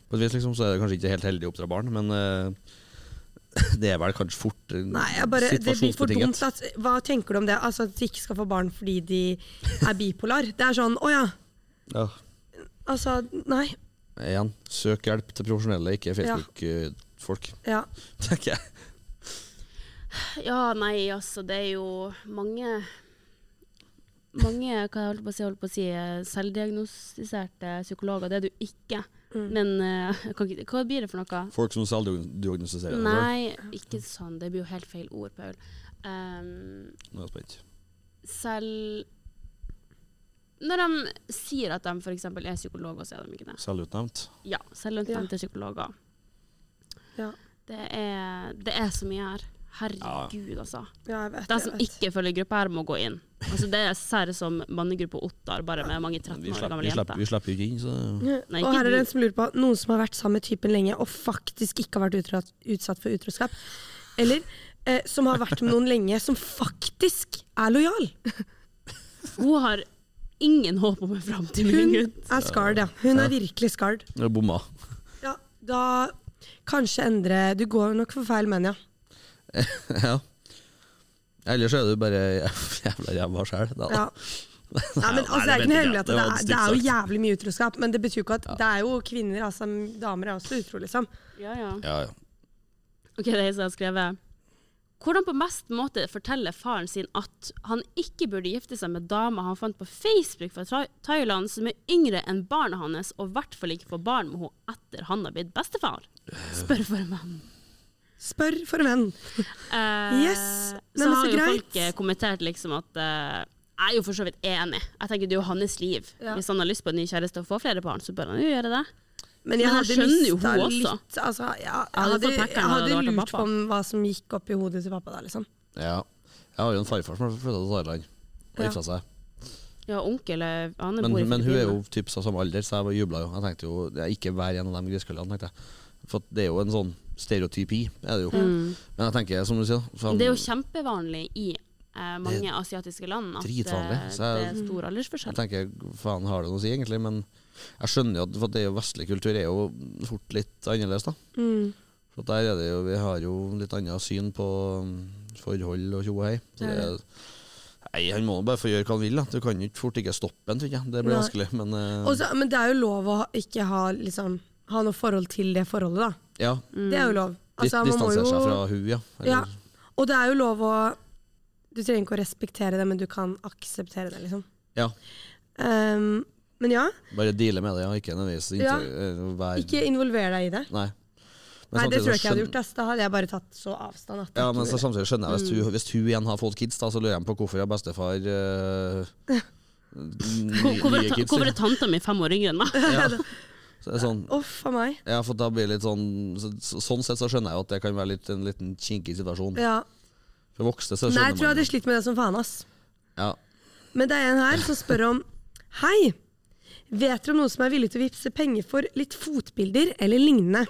På et vis liksom, så er det kanskje ikke helt heldig å oppdra barn, men eh, det er vel kanskje fort eh,
Nei, jeg bare, det blir for
situasjonsbetinget.
dumt. At, hva tenker du om det? Altså At de ikke skal få barn fordi de er bipolar? Det er sånn, å ja.
Ja.
Altså, nei.
Igjen, søk hjelp til profesjonelle, ikke Facebook-folk,
Ja.
tenker jeg.
Ja, nei, altså, det er jo mange Mange hva jeg holdt på å si, jeg holdt på å si eh, selvdiagnostiserte psykologer. Det er du ikke. Men eh, jeg kan ikke, hva blir det for noe?
Folk som selvdiagnostiserer. det, så-
Nei, ikke sånn. Det blir jo helt feil ord, Paul. Um,
Nå er jeg spent.
selv Når de sier at de f.eks. er psykologer, så er de ikke det.
Selvutnevnt.
Ja, selvutnevnte psykologer.
Ja.
Det er, det er så mye her. Herregud, altså.
ja, jeg vet
De
jeg
som
vet.
ikke følger gruppa her, må gå inn. Altså, det er særlig som mannegruppa Ottar, bare med mange 13
Vi
år
slipper,
gamle
vi, slipper,
jenter.
vi slipper jo ikke inn, så
Nei,
og
ikke
her er det
du.
en som lurer på noen som har vært sammen med typen lenge og faktisk ikke har vært utra- utsatt for utroskap. Eller eh, som har vært med noen lenge som faktisk er lojal.
Hun har ingen håp om en framtid med en
Hun
gutt.
er scarred, ja. Hun er virkelig scarred.
Nå er det bomma.
Ja, da kanskje endre Du går nok for feil menn, ja.
ja. Ellers er du bare jævla ræva sjæl.
ja. Nei, men altså, det er ikke noe hemmelig at det, er, det er jo jævlig mye utroskap, men det betyr jo ikke at det er jo kvinner, altså damer er også utro, liksom.
Ja, ja.
ja, ja.
Ok, det er jeg som har skrevet. Hvordan på best måte fortelle faren sin at han ikke burde gifte seg med dama han fant på Facebook fra Tha- Thailand, som er yngre enn barna hans, og i hvert fall ikke få barn med henne etter han har blitt bestefar? Spør formannen.
Spør for en venn.
Eh,
Yes. Nei,
Så
men
har
så
jo
greit.
folk eh, kommentert liksom at eh, Jeg er jo for så vidt enig. Jeg tenker Det er jo hans liv.
Ja.
Hvis han har lyst på en ny kjæreste og få flere barn, så bør han jo gjøre det.
Men jeg
Men han
hadde
skjønner jo
mista
hun også.
litt altså, ja,
Ja,
Jeg
det
hadde,
får pakkeren
jeg
når det
hadde
var til
lurt
pappa.
på om hva som gikk opp i hodet til pappa da, liksom.
ja. Jeg har jo en farfar som har flytta til Thailand og
Ja.
gifta seg.
Ja, onkel eh, han
Men,
bor i
men hun er
Filippinene.
jo typ av samme alder, så jeg jubla jo. Jeg tenkte jo det er ikke hver en av de griskullene, tenkte jeg. For at det er jo en sånn stereotypi, er det jo. Men jeg tenker, som du sier, så
Mm. Det er jo kjempevanlig i eh, mange asiatiske land at
dritvanlig,
eh,
så jeg-
det er stor
Jeg
aldersforskjell.
tenker, faen har det noe å si egentlig, men jeg skjønner jo at for det er jo vestlig kultur er jo fort litt annerledes, da.
Mm.
For at der er det jo, vi har jo litt annet syn på mm, forhold og tjo og hei. Så det er, nei, han må bare få gjøre hva han vil, da. Du kan jo ikke fort ikke stoppe han, tror jeg. Det blir
Nei.
vanskelig, men eh,
Mm. Og så- men det er jo lov å ha- ikke ha, liksom, ha noe forhold til det forholdet, da.
ja.
Det er jo lov.
Dis
Altså, man må
distanser seg
jo-
fra hun, ja. Eller,
Ja. Og det er jo lov å Du trenger ikke å respektere det, men du kan akseptere det, liksom.
ja.
Ehm, men ja,
Bare deale med det, ja. Ikke nødvendigvis
Ja.
inter- eh, være-
ikke involver deg i det.
Nei. Men
Nei, det tror jeg ikke
samtidig så
jeg hadde
skjønner-
gjort. Ass. Da hadde jeg bare tatt så avstand at jeg
Ja,
ikke
men så
ville.
samtidig skjønner jeg hvis
Mm.
hun, hvis hun igjen har fått kids, da, så lurer jeg på hvorfor jeg har bestefar uh,
Hvor- Hvorfor er
nye
ta-
kids.
hvorfor er tanta mi fem år yngre enn meg?
Ja. Så det er sånn,
Å, faen meg.
ja, for da blir det litt sånn så, så- Sånn sett så skjønner jeg jo at det kan være litt, en liten kinkig situasjon.
Ja.
For voksne så
Nei, jeg tror
skjønner
jeg
man
hadde slitt med det som faen, ass.
ja.
Men det er en her som spør om Hei! Vet dere om noen som er villig til å vippse penger for litt fotbilder eller lignende?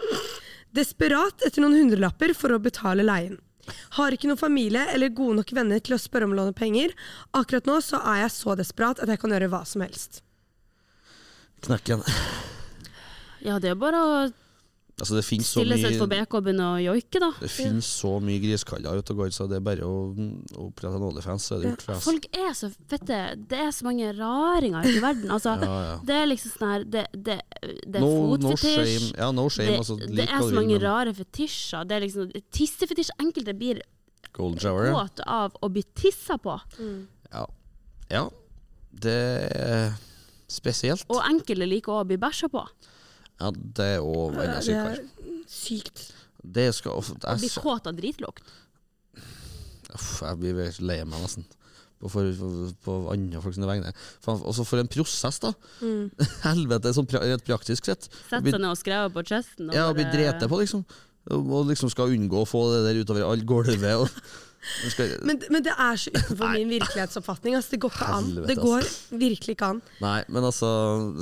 Desperat etter noen hundrelapper for å betale leien. Har ikke noen familie eller gode nok venner til å spørre om å låne penger. Akkurat nå så er jeg så desperat at jeg kan gjøre hva som helst.
Knekken.
Ja, det er bare å
Altså, det finnes så
stille seg for
mye
BK og begynne å joike, da.
det finnes så mye griskaller ute og går, så det er bare å å opprette en Onlyfans, så er det gjort. for oss.
Folk er så fette Det er så mange raringer ute i verden. Altså,
Ja, ja.
Det er liksom sånn her Det, det, det er
No, no
fotfetisj.
shame. Ja, no shame. altså,
det, det
lik
er
hva du
så
vil,
mange
men
rare fetisjer. Det er liksom Tissefetisj. Enkelte blir
Golden shower, ja.
kåte av å bli tissa på.
ja. Ja. Det er spesielt.
Og enkelte liker også å bli bæsja på.
Ja, det er jo enda
Det
sykere.
er sykt.
Det skal ofte
Bli
jeg,
kåt av dritlukt.
Uff, jeg blir lei meg nesten. På, for, for, på andre folk sine vegne. Faen, Også for en prosess, da!
Mm.
Helvete, sånn pra rett praktisk sett.
Sett seg ned og skrevet på chesten. og
Ja, og bli
bare-
drete på, liksom. Og liksom skal unngå å få det der utover alt gulvet. Og, Man skal,
Men, men det er så utenfor min virkelighetsoppfatning. Altså, det går ikke an.
Helvete,
Det
ass.
går virkelig ikke an.
nei, men altså,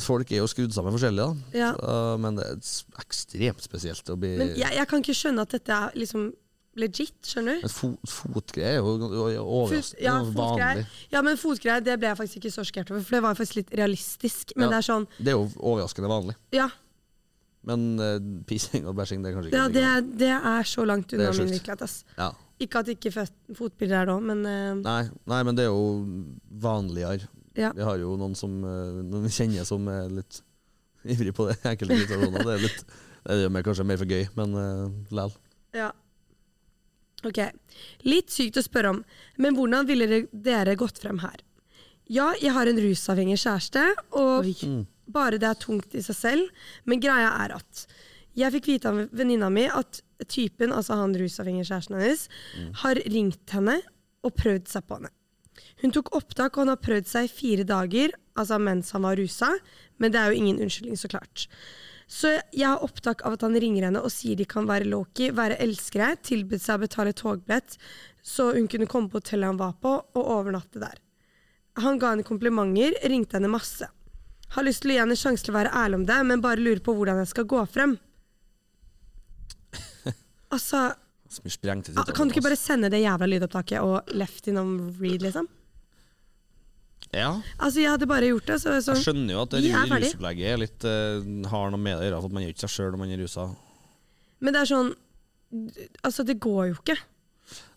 folk er jo skrudd sammen forskjellig, da.
Ja.
Så, men det er s- ekstremt spesielt å bli
Men jeg, jeg kan ikke skjønne at dette er liksom legit, skjønner du?
Men fo fotgreier er jo
Fot,
overraskende
ja,
vanlig.
fotgreier. ja, men fotgreier det ble jeg faktisk ikke så sjokkert over, for det var faktisk litt realistisk. Men
Ja.
det er sånn,
Det er jo overraskende vanlig.
ja,
Men eh, pissing og bæsjing, det er kanskje
det,
ikke
det, er, det er så langt
er
unna min
sjukt.
virkelighet. Ass.
Ja.
Ikke at ikke føt- fotbilder er det òg, men eh,
Nei, nei, men det er jo vanligere.
ja.
Vi har jo noen som eh, noen vi kjenner som er litt ivrig på det. Enkelte situasjoner. Det er litt det er jo mer, kanskje mer for gøy, men uh, lell.
ja. Ok. Litt sykt å spørre om, men hvordan ville dere- dere gått frem her? Ja, jeg har en rusavhengig kjæreste, og
Oi.
bare det er tungt i seg selv. Men greia er at jeg fikk vite av venninna mi at typen, altså han rusavhengige kjæresten hennes, har ringt henne og prøvd seg på henne. Hun tok opptak, og han har prøvd seg i fire dager, altså mens han var rusa. Men det er jo ingen unnskyldning, så klart. Så jeg har opptak av at han ringer henne og sier de kan være Loki, være elskere, tilbød seg å betale togbillett, så hun kunne komme på hotellet han var på, og overnatte der. Han ga henne komplimenter, ringte henne masse. Har lyst til å gi henne en sjanse til å være ærlig om det, men bare lurer på hvordan jeg skal gå frem. Altså,
Så mye sprengte
ah, kan du ikke bare sende det jævla lydopptaket og left innom read, liksom?
Ja,
Altså, jeg sånn- hadde bare gjort det, så,
jeg
så
skjønner jo at det
Vi er ferdig.
rusopplegget er litt eh, har noe med det å gjøre, for man gjør ikke seg sjøl når man er rusa.
Men det er sånn Altså, det går jo ikke.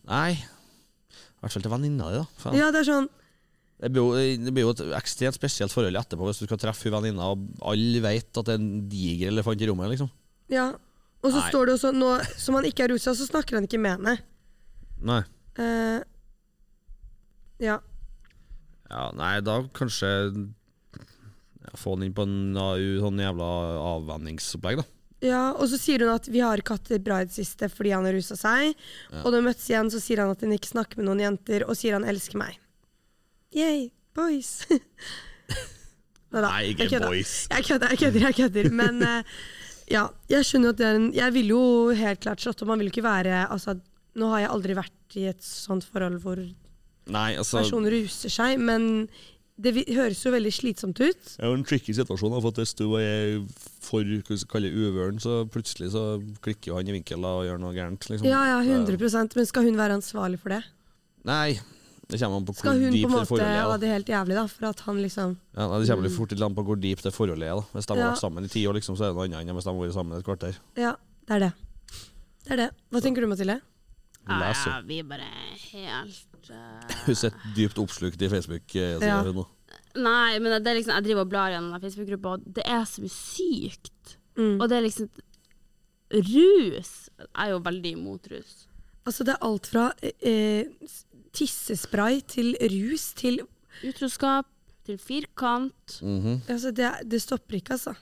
Nei. I hvert fall til venninna di, da. Faen.
Ja, det er sånn
Det blir, jo, eh, det blir jo et ekstremt spesielt forhold etterpå hvis du skal treffe hun venninna, og alle vet at det er en diger elefant i rommet. liksom
Ja. Og så
Nei.
står det også nå som han ikke er rusa, så snakker han ikke med henne.
Nei
Eh, ja.
ja, Nei, da kanskje ja, Få den inn på en AU, sånn jævla avvenningsopplegg, da.
Ja, og så sier hun at vi har ikke hatt et bra i det siste fordi han har rusa seg. Og når vi møttes igjen, så sier han at han ikke snakker med noen jenter, og sier han elsker meg. Yay, boys. Neida,
Nei, ikke
jeg kødder.
boys.
Jeg kødder, jeg kødder. jeg kødder. Men eh, ja, jeg skjønner jo at det er en Jeg ville jo helt klart slått om. Man vil jo ikke være Altså, nå har jeg aldri vært i et sånt forhold hvor
Nei, altså Det
personen ruser seg, men det vi- høres jo veldig slitsomt ut.
er jo en tricky situasjon, da, for at hvis du er for hva vi skal kalle det, uvøren, så plutselig så klikker jo han i vinkel da, og gjør noe gærent. liksom
Ja, ja,
Det-
100 Men skal hun være ansvarlig for det?
Nei, det kommer an på hvor
Skal hun på
dypt
en
det
måte
forholdet er.
ha
da.
det helt jævlig, da? For at han liksom
Ja, nei, Det kommer litt fort litt an på hvor dypt det forholdet er. da Hvis de har
Ja.
vært sammen i ti år, liksom, så er det noe annet enn hvis de har vært sammen et kvarter.
Ja, det er det. Det er det. Hva tenker du, Mathilde?
Ja,
Leser.
ja, vi er bare helt eh,
Hun sitter dypt oppslukt i Facebook-sida
Ja.
hun nå.
Nei, men det er liksom, jeg driver og blar gjennom den Facebook-gruppa, og det er så mye sykt.
Mm.
Og det er liksom Rus Jeg er jo veldig imot rus.
Altså, det er alt fra eh, s- tissespray til rus til
Utroskap til firkant.
Mhm.
Altså, det, er- det stopper ikke, altså.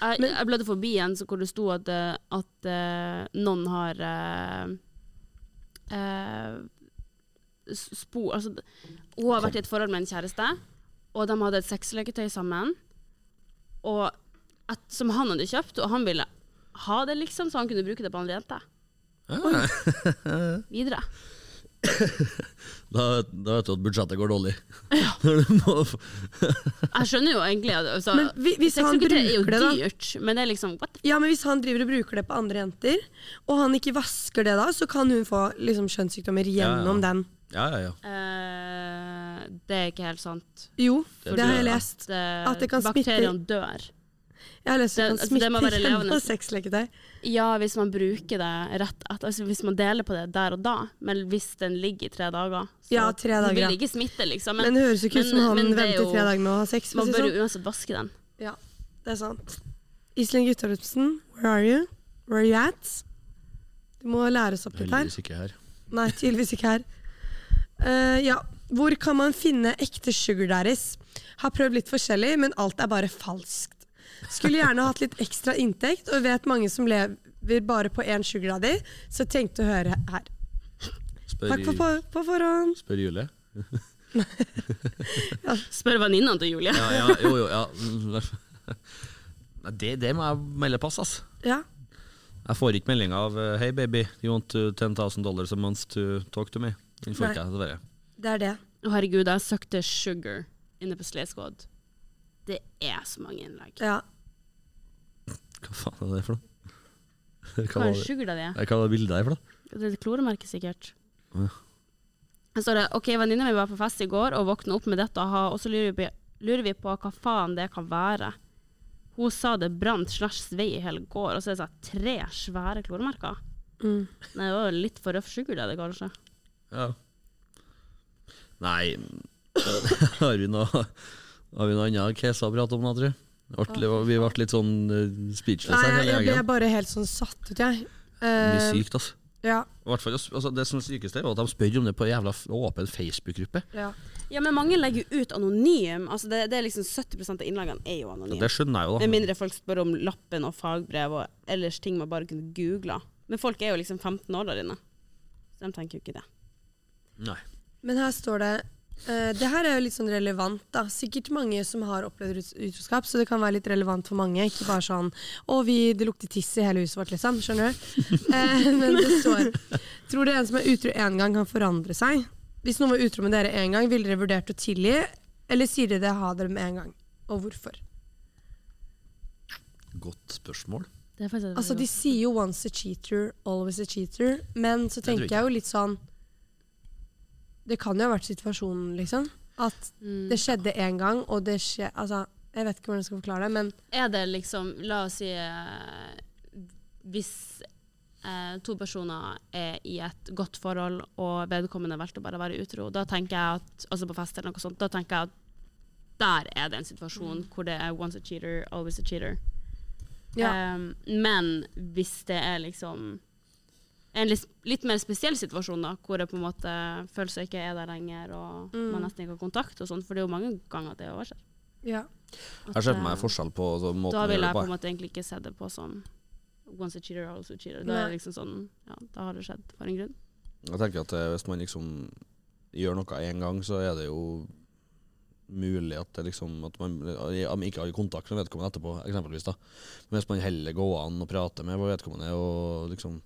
Jeg, jeg bladde forbi en så hvor det sto at, eh, at eh, noen har eh, eh, s- spor Altså, d- hun har vært i et forhold med en kjæreste, og de hadde et sexleketøy sammen, og at, som han hadde kjøpt, og han ville ha det, liksom, så han kunne bruke det på andre jenter.
Ah.
Videre.
Da, da vet du at budsjettet går dårlig. Når du må f-
Jeg skjønner jo egentlig at altså,
Men hvi- hvis han
sexleketøy er jo
bruker det, da?
dyrt, men det er liksom what the f-
Ja, men hvis han driver og bruker det på andre jenter, og han ikke vasker det da, så kan hun få liksom, kjønnssykdommer gjennom den.
Ja, ja, ja.
eh, Det er ikke helt sant.
Jo,
Fordi
det har jeg lest.
At, eh,
At det kan smitte-
bakteriene dør.
Jeg har lest at
Det-
han
altså, det må
smitter
være
gjennom
levende.
sexleketøy.
Ja, hvis man bruker det rett etter, altså hvis man deler på det der og da, men hvis den ligger i tre dager så
Ja, tre dager,
Den
ja.
vil ikke smitte, liksom.
Men det høres jo ikke ut som
men-
han
men det er
venter
jo-
tre dager med å ha sex. for å
Man
si
bør
sånn.
jo uansett vaske den.
Ja, det er sant. Iselin Guttormsen, where are you? Where are you at? Du må lære oss opp litt her.
Heldigvis ikke her.
Nei, tydeligvis ikke her. Eh, ja. Hvor kan man finne ekte sugar daddies? Har prøvd litt forskjellig, men alt er bare falskt. Skulle gjerne hatt litt ekstra inntekt, og vet mange som lever bare på én sugar daddy, så tenkte å høre her.
Spør,
Takk for på, på forhånd.
spør Julie.
Spør venninna til Julie.
Ja, ja, jo, jo, ja. Nei, Det, det må jeg melde pass, ass.
Ja.
Jeg får ikke melding av eh, Hei, baby, you want to 10,000 dollars a month to talk to me? Den får
Nei.
ikke jeg, dessverre.
Det er det.
Å, herregud, jeg søkte Sugar inne på Slay Squad. Det er så mange innlegg.
Ja.
Hva faen er det for noe? Hva
Hva
var
er
det,
Sugar da det er?
Nei, hva var det bildet der for noe?
Det er et kloremerke sikkert.
Ja.
Her står det OK, venninna mi var på fest i går og våkna opp med dette og ha- og så lurer vi, på- lurer vi på hva faen det kan være. Hun sa det brant slash svei i hele går, og så er det sånn tre svære kloremerker.
Mm.
Nei, det var litt for røff sugar, det, det kanskje.
Ja. Nei Har vi noe Har vi noe annet case å prate om nå, tror du? Vi ble litt sånn eh, speechless
Nei, jeg,
her hele
jeg ble
gjengen.
bare helt sånn satt ut, jeg.
Mye
Eh,
sykt, altså.
ja,
I hvert fall, altså. Det som er sykeste, er at de spør om det på en jævla f- åpen Facebook-gruppe.
ja.
Ja, men mange legger jo ut anonym. Altså, det, det er liksom 70 av innleggene er jo anonyme.
Ja, det skjønner jeg jo, da.
Med mindre folk spør om lappen og fagbrev og ellers ting man bare kunne googla. Men folk er jo liksom 15 år der inne, så de tenker jo ikke det.
Nei.
Men her står det eh, Det her er jo litt sånn relevant, da. Sikkert mange som har opplevd ut- utroskap, så det kan være litt relevant for mange. Ikke bare sånn 'Å, vi, det lukter tiss i hele huset vårt', liksom. Skjønner du? Eh, men det står Tror dere en som er utro én gang, kan forandre seg? Hvis noen var utro med dere én gang, ville dere vurdert å tilgi, eller sier dere det ha dere med en gang? Og hvorfor?
Godt spørsmål.
Altså, De sier jo 'once a cheater, always a cheater', men så
Det tror jeg
tenker jeg jo litt sånn Det kan jo ha vært situasjonen, liksom. At det skjedde én gang, og det skjer Altså, jeg vet ikke hvordan jeg skal forklare det, men
Er det liksom La oss si eh, Hvis eh, to personer er i et godt forhold, og vedkommende valgte å bare være utro, da tenker jeg at Altså på fest eller noe sånt, da tenker jeg at der er det en situasjon hvor det er once a cheater, always a cheater.
ja.
Um, men hvis det er liksom en litt, litt mer spesiell situasjon, da, hvor det på en måte føles som ikke er der lenger, og man nesten ikke har kontakt og sånn, for det er jo mange ganger at det overskjer.
ja.
Jeg ser på meg forskjell på så, måten
eh, Da
å
vil
gjøre det
jeg på
på.
en måte egentlig ikke se det på som once a cheater, always a cheater. Da
Nei.
er det liksom sånn, ja, da har det skjedd for en grunn.
Jeg tenker at eh, hvis man liksom gjør noe én gang, så er det jo mulig at, det liksom, at man at man ikke har kontakt med vedkommende etterpå, eksempelvis. da. Men hvis man heller går an og prater med vedkommende og liksom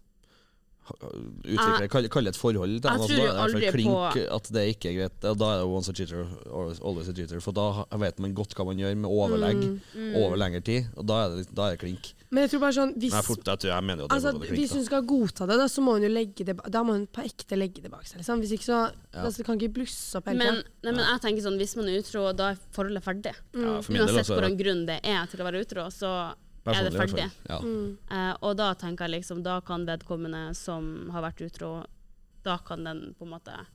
ha- utvikle, kall, kalle et forhold til
Jeg
altså,
tror
da er
jo
det
aldri
i hvert fall
på-
klink at det ikke er greit. Da er det once a cheater, always, always a cheater. For da ha- vet man godt hva man gjør med overlegg
Mm.
over lengre tid, og da er det, da er det klink.
Mm. Men jeg tror bare sånn hvis,
Men jeg, fort, jeg, tror- jeg mener jo at det
altså,
er fortsatt klink.
hvis
da.
hun skal godta det, da, så må hun jo legge det ba- Da må hun på ekte legge det bak seg. Liksom. Hvis ikke så
Ja.
altså, det kan ikke blusse opp hele
Men,
tiden.
nei, men jeg tenker sånn, hvis man er utro, da er forholdet ferdig.
Ja, for min del,
Uansett
altså,
hvordan grunn det er til å være utro, så er
personlig
det
i hvert fall.
ferdig.
Ja.
Mm.
Eh, og da tenker jeg liksom, da kan vedkommende som har vært utro, da kan den på en måte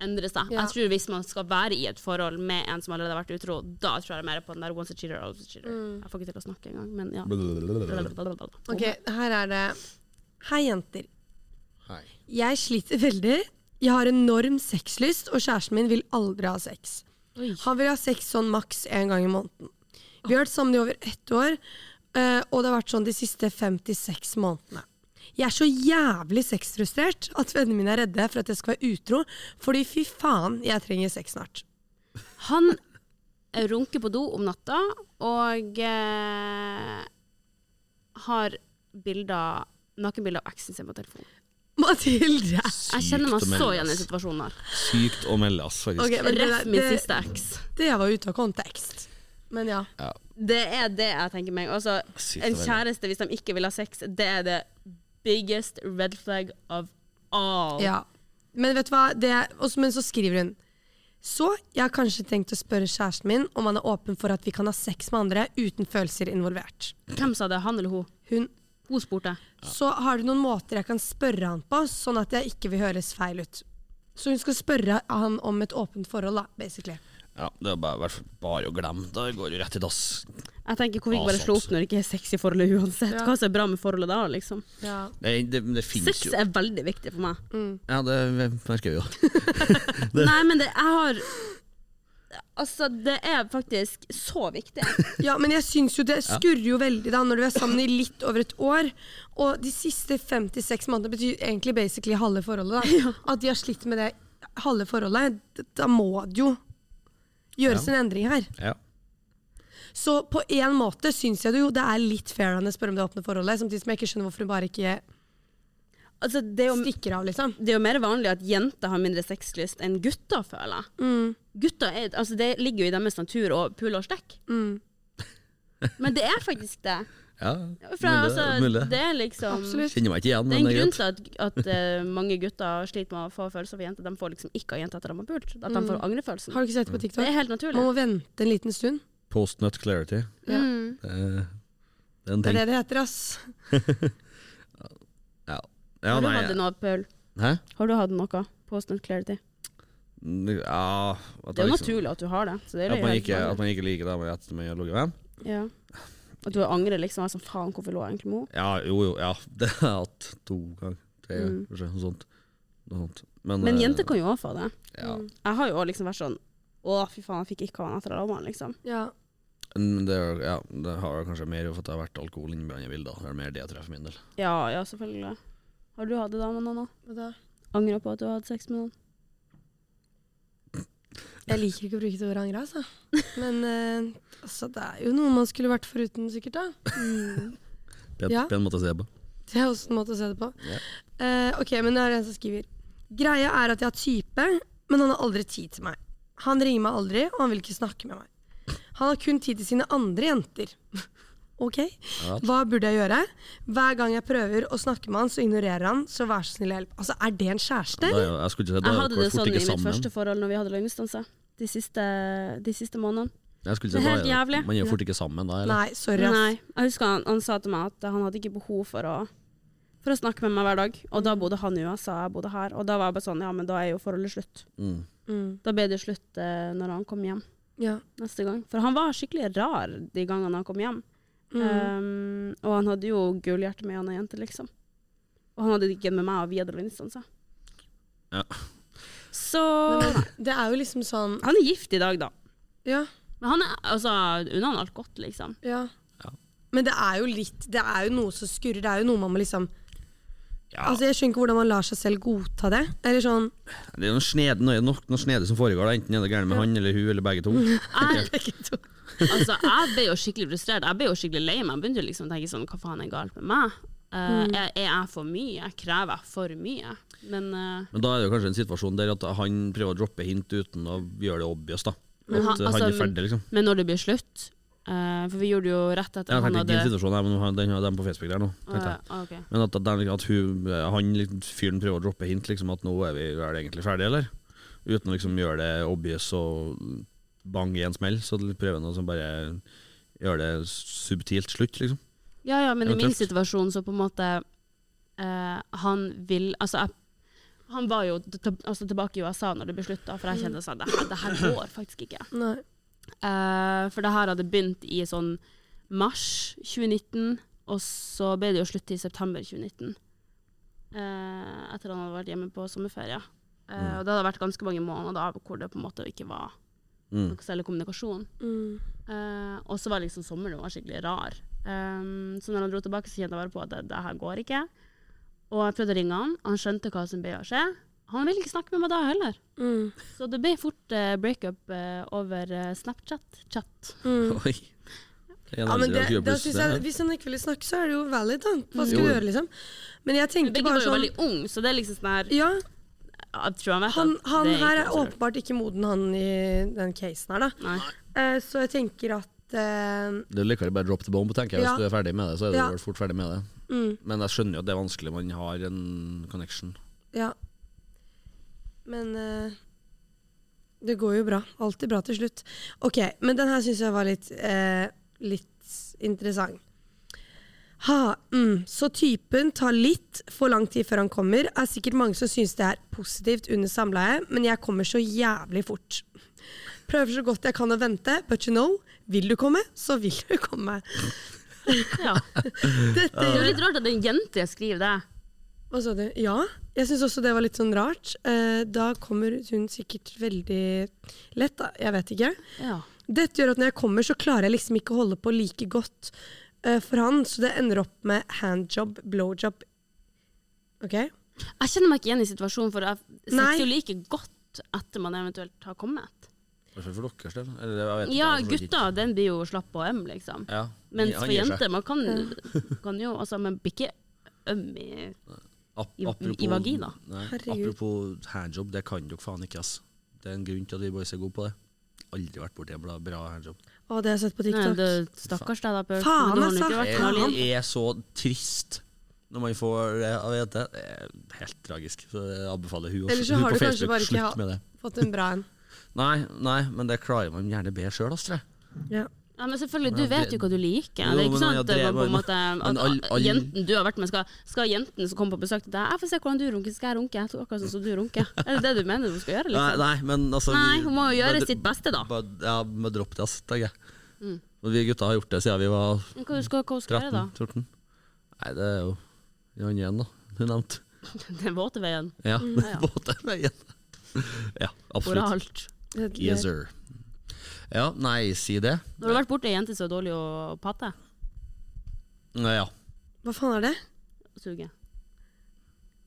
endre seg.
Ja.
Jeg tror hvis man skal være i et forhold med en som allerede har vært utro, da tror jeg mer på den der once a cheater, always a cheater. Jeg får ikke til å snakke engang, men ja.
Mm. Ok, her er det Hei, jenter.
Hei.
Jeg sliter veldig. Jeg har enorm sexlyst, og kjæresten min vil aldri ha sex. Han vil ha sex sånn maks én gang i måneden. Vi har vært sammen i over ett år, eh, og det har vært sånn de siste fem til seks månedene. Jeg er så jævlig sexfrustrert at vennene mine er redde for at jeg skal være utro, fordi fy faen, jeg trenger sex snart.
Han runker på do om natta, og eh, har bilder, nakenbilder av eksen sin på telefonen.
Mathilde!
Jeg kjenner meg så igjen i situasjonen her.
Sykt å melde, ass, faktisk.
Ok, men det,
Ref min
det,
siste eks.
det var ute av kontekst. Men ja.
Det er det jeg tenker meg. Altså,
Sykt
en
å velge.
kjæreste, hvis de ikke vil ha sex, det er det biggest red flag of all.
Ja. Men vet du hva? Det, og så- men så skriver hun Så jeg har kanskje tenkt å spørre kjæresten min om han er åpen for at vi kan ha sex med andre uten følelser involvert.
Hvem sa det? Han eller hun?
Hun,
Hun spurte.
Så har du noen måter jeg kan spørre han på, sånn at jeg ikke vil høres feil ut. Så hun skal spørre han om et åpent forhold, da, basically.
Ja, det er bare, hvert fall bare å glemme. Da går det jo rett i dass.
Jeg tenker, Hvorfor ikke
Ah,
bare slå
sant.
opp når det ikke er sex i forholdet uansett?
Ja.
Hva som er bra med forholdet da? liksom?
Ja.
Det, det, det finnes
Sex
jo
er veldig viktig for meg.
Ja, det merker vi jo.
Nei, men det, jeg har Altså, det er faktisk så viktig.
Ja, men jeg syns jo det skurrer jo veldig da når du er sammen i litt over et år. Og de siste 56 månedene betyr egentlig basically halve forholdet. da. At de har slitt med det halve forholdet. d- Da må det jo gjøres
Ja.
en endring her.
Ja.
Så på en måte syns jeg det jo det er litt fair å spørre om det åpne forholdet, samtidig som jeg ikke skjønner hvorfor hun bare ikke
Altså, det er jo
stikker av, liksom.
det er jo mer vanlig at jenter har mindre sexlyst enn gutter, føler jeg.
Mm,
Gutter er, altså det ligger jo i deres natur å pule og stikke.
mm.
Men det er faktisk det.
ja.
For altså,
mulig.
det er liksom
Absolutt.
Kjenner meg ikke igjen,
Det er
men
en
det er
grunn
greit.
til at, at eh, mange gutter sliter med å få følelser for jenter. De får liksom ikke av jenter etter at de har pult. At de får angrefølelsen.
Har du ikke sett det på
Det
TikTok?
er helt naturlig.
Man må vente en liten stund.
Post nut clarity.
Ja.
Mm.
Det er det er en
Det
ting.
er det det heter, ass.
Ja. ja,
Har du
nei.
hatt noe, Paul?
Hæ?
Har du hatt noe? Post-nut clarity.
Ja at
Det er jo
liksom-
naturlig at du har det. Så det er
At
jo
man
helt
ikke, at
vanlig.
man ikke liker det med etter man har ligget med dem.
ja. At du angrer liksom. Altså, faen, hvorfor lå jeg egentlig med henne?
Ja, jo, jo. Ja. Det har jeg hatt to ganger. Tre ganger,
Mm.
kanskje. Noe sånt. Noe sånt. Men,
Men
eh,
jenter kan jo òg få det.
ja.
Mm.
Jeg har jo også liksom vært sånn Å, fy faen, jeg fikk ikke ha han etter alarmen, liksom.
Ja.
Men det, er- ja, det har jeg kanskje mer for at det har vært alkohol innblandet i bildet. Det er mer det jeg treffer for min del.
Ja, ja, selvfølgelig. Har du hatt det da med noen? da?
Hva da?
Angrer på at du har hatt sex med noen?
Jeg liker ikke å bruke det ordet angre, altså. Men eh, altså, det er jo noe man skulle vært foruten, sikkert. da.
Pen,
Ja.
pen måte å se på.
Det er også en måte å se det på.
Ja.
Eh, ok, men det er en som skriver. Greia er at jeg har type, men han har aldri tid til meg. Han ringer meg aldri, og han vil ikke snakke med meg. Han har kun tid til sine andre jenter. ok,
Ja.
hva burde jeg gjøre? Hver gang jeg prøver å snakke med han, så ignorerer han, så vær så snill hjelp. Altså, er det en kjæreste?
Da, er jo- jeg skulle ikke si, da
Jeg
er
hadde
dere
det
fort
sånn i
ikke
mitt
sammen.
første forhold når vi hadde langdistanse. De siste, de siste månedene.
Jeg skulle
Det
si,
er
da
helt
er
jævlig.
det- Man er jo fort ikke sammen da, eller?
Nei, sorry. ass.
Nei, jeg husker han, han sa til meg at han hadde ikke behov for å for å snakke med meg hver dag. Og da bodde han i USA, jeg bodde her. Og da var jeg bare sånn, ja, men da er jo forholdet slutt.
Mm.
Mm,
Da ble det slutt eh, når han kom hjem
ja.
neste gang. For han var skikkelig rar de gangene han kom hjem. Mm. Um, og han hadde jo gullhjerte med han er jente, liksom. Og han hadde det ikke med meg, og vi hadde langdistanse.
Ja.
Så
Men det er jo liksom sånn
Han er gift i dag, da.
Ja.
Men han er altså unna han alt godt, liksom.
Ja.
Ja.
Men det er jo litt Det er jo noe som skurrer. Det er jo noe man må liksom
Ja.
Altså Jeg skjønner ikke hvordan man lar seg selv godta det. Eller sånn
Det er noe snedig, noe, nok noe snedig som foregår. da. Enten er det gærent med han eller hun eller begge to.
Jeg,
begge to.
altså, jeg ble jo skikkelig frustrert. Jeg ble jo skikkelig lei meg. Jeg begynte jo liksom å tenke sånn, hva faen er galt med meg? Eh, er, er jeg for mye? Krever jeg for mye? Men, eh,
Men da er det jo kanskje en situasjon der at han prøver å droppe hint uten å gjøre det obvious. da. At
Men han-
eh, han
altså,
er ferdig, liksom.
men når det blir slutt eh, For vi gjorde det jo rett etter
Jeg
han
tenkte ikke
hadde
din situasjon, jeg, men han- den har de på Facebook der nå. tenkte jeg.
Eh, ok.
Men at, at, den, at hun, han liksom, fyren prøver å droppe hint, liksom, at nå er vi er det egentlig ferdig, eller? Uten å liksom gjøre det obvious og bang i en smell, så prøver han å liksom bare gjøre det subtilt slutt, liksom.
Ja, ja, men i min
Eventuelt.
situasjon så på en måte eh, Han vil Altså, jeg, han var jo t- t- altså, tilbake i USA når det ble slutt, da, for jeg kjente sånn det, her- det her går faktisk ikke.
Nei.
Eh, for det her hadde begynt i sånn mars 2019, og så ble det jo slutt i september 2019. Eh, etter han hadde vært hjemme på sommerferie. Eh,
Mm.
Og det hadde vært ganske mange måneder da, hvor det på en måte ikke var
Mm.
noe særlig kommunikasjon.
Mm.
Eh, og så var liksom sommeren var skikkelig rar. Ehm, så når han dro tilbake, så kjente jeg bare på at det, det her går ikke. Og jeg prøvde å ringe han, han skjønte hva som ble å skje. Han ville ikke snakke med meg da heller.
Mm.
Så det ble fort eh, breakup eh, over eh, Snapchat-chat.
Mm.
Oi. Det er en
Ja, men
annen
det,
side av
da
Cubus,
synes
det
jeg,
her.
hvis han ikke ville snakke, så er det jo valid. da Hva skal
Jo,
du
Mm. jo.
gjøre, liksom? Men jeg tenker
Begge
bare
var jo
sånn
veldig unge, så det er liksom sånn her
Ja,
Jeg tror han vet
han,
at
han
det
her
ikke
er
så lurt.
åpenbart ikke moden, han i den casen her, da.
Nei.
Eh, så jeg tenker at eh,
Det er likere bare drop the bomb, tenker jeg. Hvis
Ja.
du er ferdig med det, så er du
Ja.
vel fort ferdig med det.
mm,
Men jeg skjønner jo at det er vanskelig. Man har en connection.
Ja. Men eh, det går jo bra. Alltid bra til slutt. Ok, men den her syns jeg var litt, eh, litt interessant. Ha, mm. Så typen tar litt for lang tid før han kommer. Er sikkert mange som syns det er positivt under samleie, men jeg kommer så jævlig fort. Prøver så godt jeg kan å vente, but you know, vil du komme, så vil du komme.
Ja. Det
Dette
er jo litt rart at en jente skriver det.
Hva sa du? Ja. Jeg syns også det var litt sånn rart. Eh, da kommer hun sikkert veldig lett, da. Jeg vet ikke.
Ja.
Dette gjør at når jeg kommer, så klarer jeg liksom ikke å holde på like godt eh, for han, så det ender opp med handjob, blowjob OK?
Jeg kjenner meg ikke igjen i situasjonen, for jeg
Nei.
sitter jo like godt etter man eventuelt har kommet.
I hvert fall for deres del. Eller, jeg vet ikke,
Ja,
jeg forstår ikke.
gutta, den blir jo slapp og øm, liksom.
Ja.
Mens
Han
for
gir seg.
jenter, man kan, kan jo altså, Man blir ikke øm i
Ap-
i- i vagina.
Nei,
Herregud.
apropos handjob, det kan dere faen ikke, ass. Det er en grunn til at vi boys er gode på det. Aldri vært borti en bra, bra handjob.
Å, det har jeg sett på
Nei,
TikTok.
det, Stakkars deg, da. Bjørk.
Faen,
Men nå har du
altså.
ikke vært
Ja.
knallhard.
Det er så trist når man får det av jente. Det er helt tragisk. Så jeg anbefaler hun,
Eller
også,
så
hun
har
på
du kanskje
Facebook.
bare ikke
Slutt
hatt-
med det.
Fått en bra en.
Nei, nei, men det klarer man gjerne bedre sjøl, Astrid.
Ja.
Ja, men selvfølgelig,
Ja,
du vet
det-
jo hva du liker.
Jo,
det er ikke
men
sånn
ja,
at
det
det var på en
var-
måte at
men all- all-
jenten du har vært med, skal, skal jenten som kommer på besøk til deg Jeg får se hvordan du runker, skal jeg runke? Jeg tror akkurat sånn som du runker. Er det det du mener hun skal gjøre?
Nei,
liksom?
nei, men altså
Nei, hun må jo gjøre
bare-
sitt beste, da.
Bare, ja, må droppe det, ass, tenker jeg. Og vi gutta har gjort det siden vi var
Men Hva skal hva hun skal gjøre,
13-14. Nei, det er jo han igjen, da. Hun nevnte.
da? Den våte veien.
Ja,
Mm, ja.
båten er igjen. Ja, absolutt.
Oralt.
Det-
Yes, sir. Ja, nei, si det.
Når du har vært borti ei jente som er dårlig å patte,
Nei, ja.
Hva faen er det?
suge.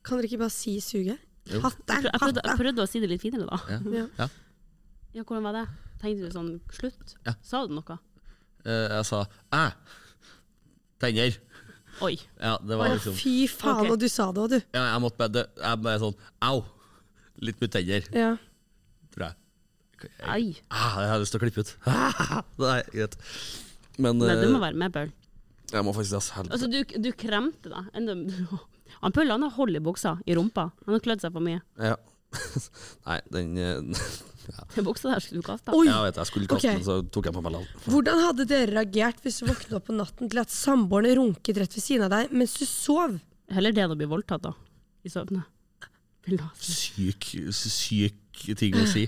Kan dere ikke bare si suge?
Jo.
Hatte!
Jeg prøvde, jeg
Hatte!
prøvde å si det litt finere, da.
ja.
Ja.
Ja, hvordan var det? Tenkte du sånn slutt?
Ja.
Sa du noe?
Eh, jeg sa æ. Tenner.
Oi.
Ja, det var
Å,
liksom
Fy faen,
Ok.
og du sa det òg, du.
ja, Jeg måtte bare, det- jeg bare sånn au. Litt mye tenner,
Ja.
tror jeg.
Ai.
Ah, jeg har lyst til å klippe ut. Nei, greit. Men
Nei, du
eh,
må være med, Paul.
jeg må faktisk ass, helvete.
Altså, du, du kremte deg. Enda, han Paul han har hold i buksa, i rumpa. Han har klødd seg for mye.
Ja. Nei, den eh,
Den buksa der skulle du kaste.
Oi!
Jeg vet jeg skulle kaste
Ok.
den, så tok jeg på meg lall.
Hvordan hadde dere reagert hvis du våkna opp på natten til at samboeren runket rett ved siden av deg mens du sov?
Heller det enn å bli voldtatt, da. I søvne. Vil du ha-
Syk, syk ting å si,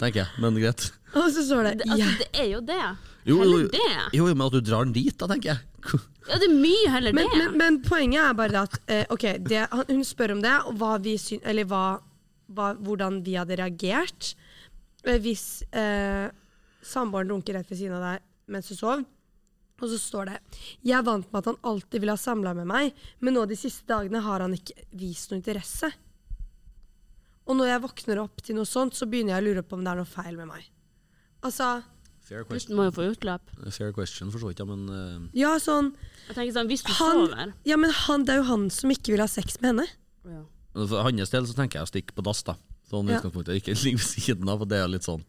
tenker jeg. Men greit.
Og så står
Det,
det
altså,
ja.
det er jo det.
Jo, jo,
Heller
jo.
det.
Jo, jo, men at du drar den dit, da, tenker jeg.
Ja, det er mye heller
men,
det.
men, men poenget er bare det at eh, Ok, det, han, hun spør om det, og hva vi syn, eller hva, hva, hvordan vi hadde reagert eh, hvis eh, samboeren runker rett ved siden av deg mens du sov. Og så står det Jeg er vant med at han alltid vil ha samla med meg, men nå de siste dagene har han ikke vist noe interesse. Og når jeg våkner opp til noe sånt, så begynner jeg å lure på om det er noe feil med meg. Altså,
Fair question,
Pusten må jo få utløp.
Fair question for så vidt, ja, men eh,
ja, sånn
Jeg tenker sånn, Hvis du
han,
sover
ja, men han, Det er jo han som ikke vil ha sex med henne.
ja.
For hans del så tenker jeg å stikke på dass, da. Sånn i
Ja.
utgangspunktet. Ikke ligge ved siden av, for det er litt sånn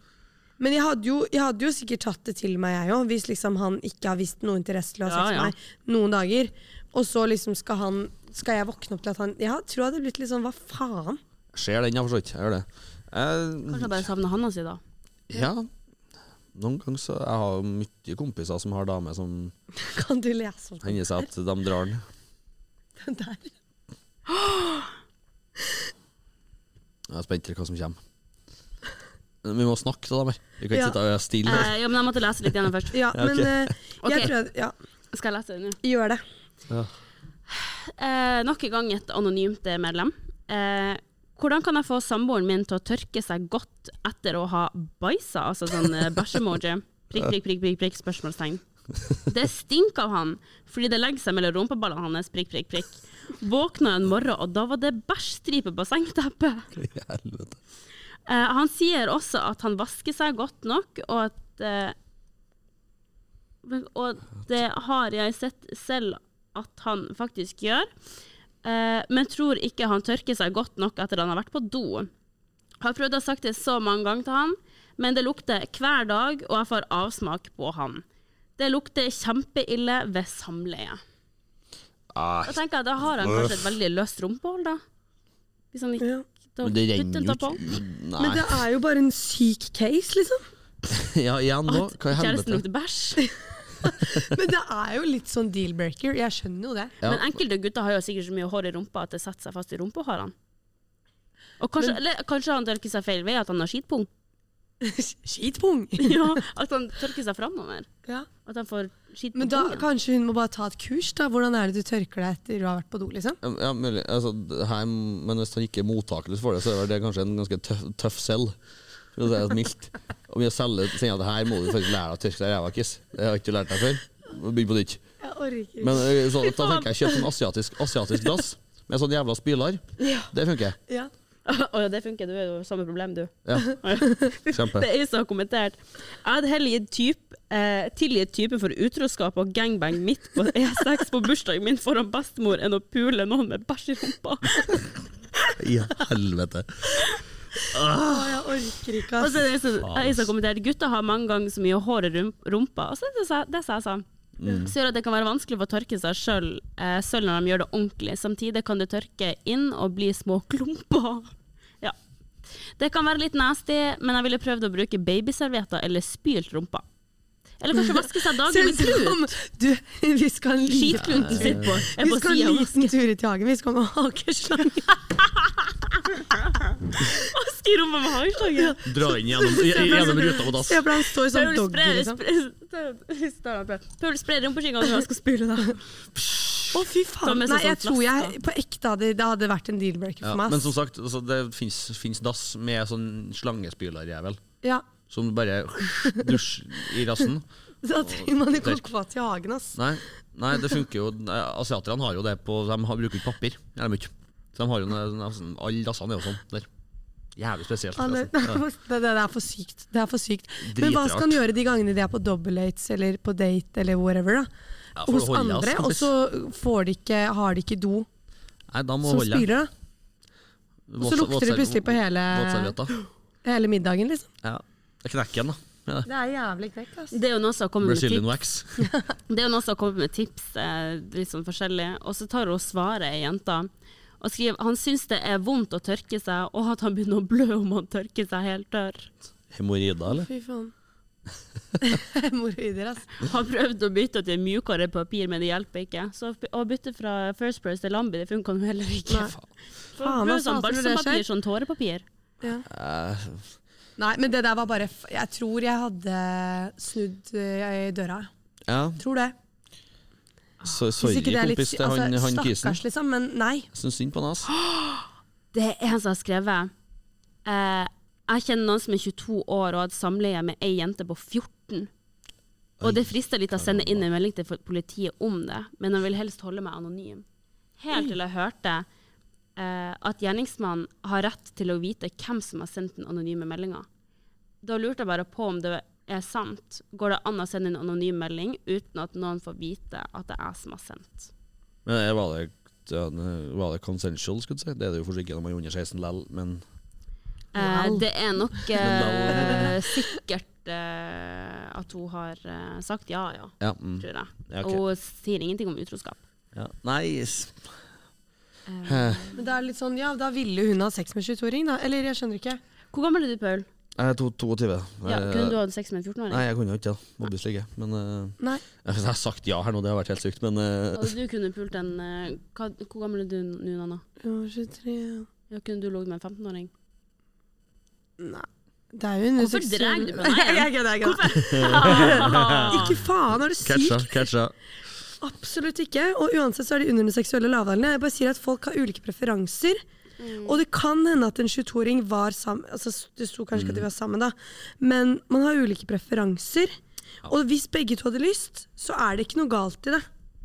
Men jeg hadde, jo, jeg hadde jo sikkert tatt det til meg, jeg òg, hvis liksom han ikke har vist noe interesse til å ha
Ja,
sex
ja.
med meg noen dager. Og så liksom skal, han, skal jeg våkne opp til at han Jeg tror jeg hadde blitt litt sånn hva faen?
Jeg ser den, ja, for så vidt. Jeg gjør det. Jeg,
Kanskje jeg bare savner handa si, da.
ja. Noen ganger så Jeg har mye kompiser som har damer som
Kan du lese opp
hender seg at de drar den.
den der?
Jeg er spent til hva som kommer. Men Vi må snakke til dem. her. Vi kan ikke
Ja.
sitte og være stille. her.
Eh, ja, men Jeg måtte lese litt gjennom først.
Ja,
Ja, ok.
men eh,
Ok.
jeg tror jeg Ja,
Skal jeg lese det nå?
gjør det.
Eh, nok en gang et anonymt medlem. Eh, hvordan kan jeg få samboeren min til å tørke seg godt etter å ha bæsja? Altså sånn eh, bæsjemoji. Prikk, prikk, prikk, prikk, prikk, spørsmålstegn. Det stinker av han, fordi det legger seg mellom rumpeballene hans. Prikk, prikk, prikk. Våkna en morgen, og da var det bæsjstripe på sengeteppet.
I helvete.
Eh, han sier også at han vasker seg godt nok, og at eh, men- Og det har jeg sett selv at han faktisk gjør, eh, men tror ikke han tørker seg godt nok etter han har vært på do. Har prøvd å ha sagt det så mange ganger til han, men det lukter hver dag, og jeg får avsmak på han. Det lukter kjempeille ved samleie. Da
Ah,
tenker jeg, da har han kanskje et veldig løst rumpehold, da. Hvis han ikke
Ja.
da
men det
putter
renner
den da
jo
på.
ikke Nei.
Men det er jo bare en syk case, liksom.
Ja, igjen nå.
At
Hva i
kjæresten
helvete?
lukter bæsj.
Men det er jo litt sånn deal-breaker. Jeg skjønner jo det.
Ja.
Men enkelte gutter har jo sikkert så mye hår i rumpa at det setter seg fast i rumpehårene. Og kanskje, eller, kanskje han tørker seg feil vei, at han har skitpung.
Skitpung!
Ja, at han tørker seg framover.
Ja.
At han får skitt på
Men da
pungen.
kanskje hun må bare ta et kurs, da. Hvordan er det du tørker deg etter du har vært på do, liksom?
Ja, mulig. Altså, det her, men hvis han ikke er mottakelig for det, så er vel det kanskje en ganske tøff, tøff selv. For å si det mildt. Og vi selger sier at det her må du faktisk lære deg å tørke deg i ræva, Kiss. Det har ikke du lært deg før. Bygg på nytt.
Jeg orker ikke.
Men ø, så, da tenker jeg kjøp sånn asiatisk, asiatisk glass med sånn jævla spyler.
ja.
Det funker.
ja.
Å ja, det funker. Du er jo samme problem, du.
Ja,
Å ja.
kjempe.
Det er jeg som har kommentert. Jeg hadde heller gitt typ, eh, tilgitt typen for utroskap og gangbang midt på E6 på bursdagen min foran bestemor enn å pule noen med bæsj i rumpa.
I helvete.
Å, jeg orker ikke,
Og
ass.
så er det så, jeg som har kommentert Gutter har mange ganger så mye hår i rum- rumpa. Og så er det så- det sa jeg sa. Så gjør at det kan være vanskelig for å tørke seg sjøl, eh, selv når de gjør det ordentlig. Samtidig kan du tørke inn og bli små klumper. Ja. Det kan være litt nasty, men jeg ville prøvd å bruke babyservietter eller spylt rumpa. Eller kanskje vaske seg daglig med
Ser ut
klut.
som Du, vi skal en liten
Skitklunten sitter på. Er
Vi
på
skal
siden
en
og
liten tur ut i hagen. Vi skal med hageslange.
vasker i rommet med hageslange.
Dra inn gjennom, gjennom ruta på dass.
Se på han står som
Paul,
doggy,
spre-
liksom.
spre- står han på. Paul, spre rumpeskinga når han skal spyle deg.
Å, fy
Ta
faen.
med seg
Nei, jeg
sånt
tror
glass,
jeg på ekte hadde Det hadde vært en deal-breaker
Ja,
for meg.
men som
ass.
sagt, altså, det fins dass med sånn slangespylerjævel
Ja.
som du bare dusj i rassen.
Da trenger man ikke
Tørk.
å gå til hagen, ass.
Nei, nei det funker jo. Nei, Asiaterne har jo det på De har, bruker ikke papir. Gjør de ikke. Så de har jo ne- nesten Alle dassene er jo sånn der. Jævlig spesielt.
Ja, det, det,
forresten.
det, det er for sykt. Det er for sykt. Men hva
altså, Dritrart.
skal han gjøre de gangene de er på dobbeltdates eller på date eller whatever? da?
Ja, for å
Hos
holde oss,
andre, og
kompis.
så får de ikke, har de ikke do
Nei, da må
som
holde.
spyler, da. Og så lukter det plutselig på hele,
Våtservietter.
hele middagen, liksom.
Ja. Det knekker en, da. Ja.
Det er jævlig kvekk, ass.
Det er jo noe som har kommet med
Brazilian
tips.
wax.
Det er jo noen som har kommet med tips, eh, litt sånn forskjellig. Og så tar hun svaret, ei jenta, og skriver han syns det er vondt å tørke seg, og at han begynner å blø om han tørker seg helt tørr.
Hemoroider, eller?
Fy faen. Hemoroider, ass.
Har prøvd å bytte til mjukere papir, men det hjelper ikke. Så å bytte fra First Price til Lambi, det funka jo heller ikke.
Nei.
For
Faen,
prøv
altså,
sånn
alt når det
balsampapir, sånn tårepapir.
Ja.
Eh,
Nei, men det der var bare f Jeg tror jeg hadde snudd eh, i døra.
ja,
Tror det.
så,
Hvis
sorry,
ikke det er litt
kompis til han,
altså,
han kisen.
Stakkars, liksom. Men nei.
Syns synd på han, ass.
Det er en som har skrevet eh, Jeg kjenner noen som er 22 år og har hatt samleie med ei jente på 14. Og det frister litt å sende inn en melding til politiet om det, men han vil helst holde meg anonym. Helt til jeg hørte eh, at gjerningsmannen har rett til å vite hvem som har sendt den anonyme meldinga. Da lurte jeg bare på om det er sant. Går det an å sende en anonym melding uten at noen får vite at det er jeg som har sendt?
Men det var det, ja, det var det consensual, skulle jeg si? Det er det jo for sikkert når man er under 16 lell, men
Eh,
Lol.
det er nok eh,
Men
sikkert eh, at hun har eh, sagt ja, ja,
ja, mm,
tror jeg.
ja,
Og
ok.
hun sier ingenting om utroskap.
ja. Nice.
Eh,
Eh,
Men det er litt sånn, ja, da ville hun ha sex med 22-åring, da. Eller jeg skjønner ikke.
hvor gammel er du, Paul?
Jeg er to- 22.
Ja,
Eh,
kunne du hatt sex med en 14-åring?
Nei, jeg kunne jo ikke det. Obviously ikke. Men eh,
Nei.
jeg har sagt ja her nå, det har vært helt sykt, men eh,
Hadde du kunne pult en eh, hva, Hvor gammel er du nå, Nanna?
Hun var 23
Ja, kunne du ligget med en 15-åring?
Nei. Det er jo en
Hvorfor
seksuell-
drar du på meg?
Jeg- jeg kødder, jeg kødder.
Ah.
Ikke faen, er du
Catcha,
syk?
catcha.
Absolutt ikke. Og uansett så er de under den seksuelle lavalderen. Jeg bare sier at folk har ulike preferanser.
Mm.
Og det kan hende at en 22-åring var sammen altså, Det sto kanskje ikke at de var sammen, da, men man har ulike preferanser. Og hvis begge to hadde lyst, så er det ikke noe galt i det.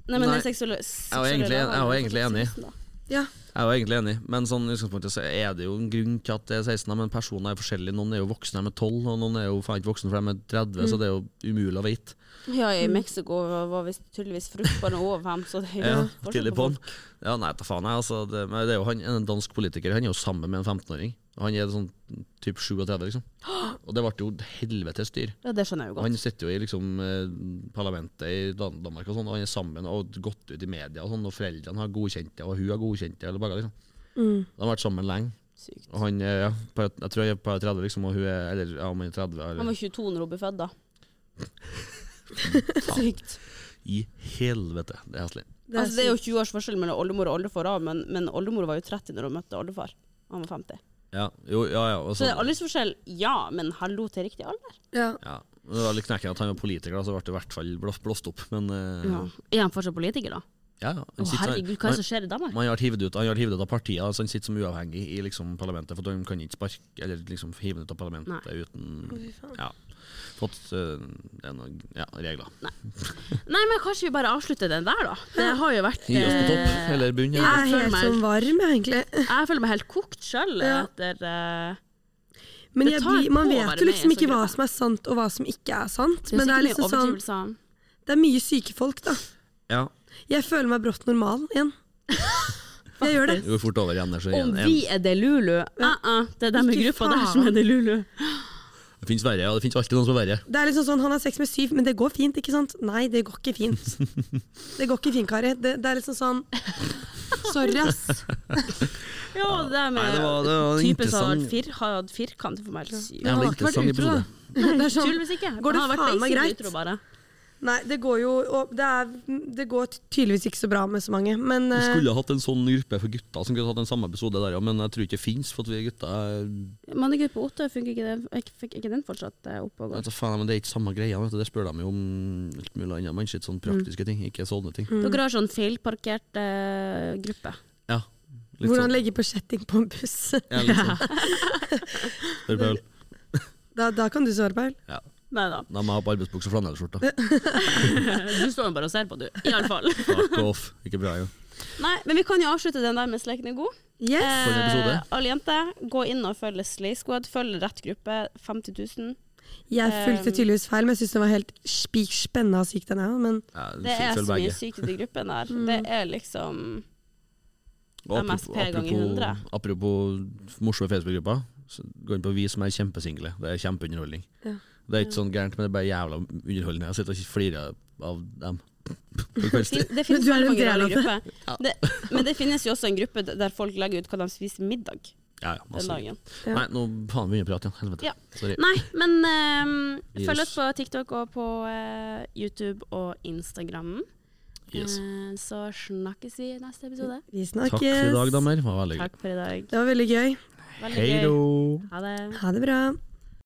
Nei, men
Nei.
det er seksuelle
Jeg var egentlig- jeg var egentlig enig.
Ja.
Jeg er jo egentlig enig, men sånn i utgangspunktet så er det jo en grunn til at det er 16, men personer er forskjellige. Noen er jo voksne de er 12, og noen er jo faen ikke voksne for de er 30,
Mm.
så det er jo umulig å vite.
Ja, i Mexico var visst tydeligvis fruktbarn over fem, så det er
Ja,
jo forskjell
tidlig
på
på'n.
folk.
Ja, nei, ta faen jeg, altså. Det, men det er jo han, en dansk politiker, han er jo sammen med en 15-åring. Han er sånn typ 37, liksom. Og det ble jo helvetes styr.
Ja, det skjønner jeg jo
Og Han
godt.
sitter jo i liksom eh, parlamentet i Dan Danmark og sånn, og han er sammen og gått ut i media og sånn, og foreldrene har godkjent det, og hun har godkjent det, eller begge, liksom.
Mm.
De har vært sammen lenge.
Sykt.
Og han er, ja, på, jeg tror jeg er på 30, liksom, og hun er Eller ja, om han er 30,
Han
eller
var 22 når hun ble født, da. Sykt.
I helvete, det er heslig.
Det er, altså, det er jo 20 års forskjell mellom oldemor og oldefar, også, men, men oldemor var jo 30 når hun møtte oldefar. Han var 50.
Ja, jo, ja, ja. Og
Så
så,
det er aldersforskjell, ja, men hallo til riktig alder.
Ja.
ja. Det var litt knekken at han var politiker, da, så ble det i hvert fall blå- blåst opp. Men eh,
Ja. Er han fortsatt politiker, da?
ja, ja.
Å,
Han sitter-
herregud, hva er det som skjer i Danmark?
han har vært hivet ut, han har vært hivet ut av partiet, altså han sitter som uavhengig i liksom, parlamentet. For han kan ikke sparke Eller liksom hive han ut av parlamentet uten Ja. Fått eh, det er noen ja, regler.
Nei, men kanskje vi bare avslutter den der, da. Det har jo vært
Gi oss på topp,
eh,
eller bunn.
Jeg
Eller.
er
føler
helt
meg-
sånn varm, jeg, egentlig.
Jeg føler meg helt kokt sjøl
Ja.
etter eh,
Men
Det
jeg
tar
blir, man
på å
vet
være
jo
med i en
liksom
sånn
ikke hva
gruppe.
som er sant og hva som ikke er sant.
Det er
Men det er
sikkert mye
liksom sånn
overdrivelser.
Det er mye syke folk, da.
Ja.
Jeg føler meg brått normal igjen. Jeg gjør det.
Det går fort over igjen. der,
Om
Så igjen, en,
vi er det Lulu? Uh -uh, det er dem i
Ikke
gruppa der
faen.
som er det Lulu.
det finnes verre, ja. Det finnes alltid noen som er verre.
Det er liksom sånn, Han har sex med syv, men det går fint, ikke sant? Nei, det går ikke fint. Det går ikke fint, Kari. Det, det er liksom sånn Sorry, ass.
Ja, det er med
Nei, det var- det var
typen
en
som har
interessant-
hatt fir, har hatt firkant for meg. eller syv.
Ja,
Han
men
har ikke vært
interessant
utro, da.
episode.
Det er sånn,
Tydeligvis ikke.
Går det
Han har vært
faen meg
basically
greit?
utro bare.
nei, det går jo og det, er, det går tydeligvis ikke så bra med så mange, men
Vi
eh,
skulle ha hatt en sånn gruppe for gutter som kunne hatt den samme episode der, ja, men jeg tror ikke det fins, for at vi gutter er eh,
Mannegruppe Otta, funker ikke den, jeg fikk ikke den fortsatt eh, opp og gå?
vet du, faen, men Det er ikke samme greia. Vet du. Det spør de jo om alt mulig annet, men ikke sånn
Mm.
praktiske ting. Ikke sånne ting.
Dere har sånn feilparkert eh, gruppe.
Ja, litt
hvordan
sånn.
legge på kjetting på en buss?
Ja, litt sånn. Spør Paul.
Da, da kan du svare, Paul.
Ja.
Nei da.
Da må jeg ha på arbeidsbukse og flanellskjorte.
Du står jo bare og ser på, du. Iallfall.
Fuck off. Ikke bra, jo.
Nei, men vi kan jo avslutte den der med Sleken er god. Eh,
Yes.
For en episode.
alle jenter, gå inn og følg Slay Squad. Følg rett gruppe. 50 000.
Jeg
eh,
fulgte
ehm.
tydeligvis feil, men jeg syns den var helt spik spenna og syk, den her. Men
Ja,
Det
følg-
er så
følg
mye
begge.
sykt i den gruppen der. Det er liksom
Og apropos-
MSP ganger
apropos-
100.
Apropos morsomme Facebook-grupper, så gå inn på Vi som er kjempesingle. Det er kjempeunderholdning.
Ja.
Det er ikke sånn gærent, men det er bare jævla underholdende. Jeg sitter og flirer av dem. På
fin,
kveldstid.
Det finnes
du
veldig
er en
mange
del
rare
av det.
grupper. Det, men det finnes jo også en gruppe der folk legger ut hva de spiser middag
Ja, ja,
den
masse.
dagen.
Ja.
Nei, nå faen begynner jeg å prate igjen. Helvete.
Ja.
Sorry.
Nei, men ehm,
Yes.
følg oss på TikTok og på eh, YouTube og Instagram.
Yes.
Eh, så snakkes vi i neste episode.
vi
Takk
snakkes.
for i dag, damer. Det var veldig gøy.
Takk for i dag.
Det var veldig gøy.
Veldig
Hei
gøy.
då.
Ha det.
Ha det bra.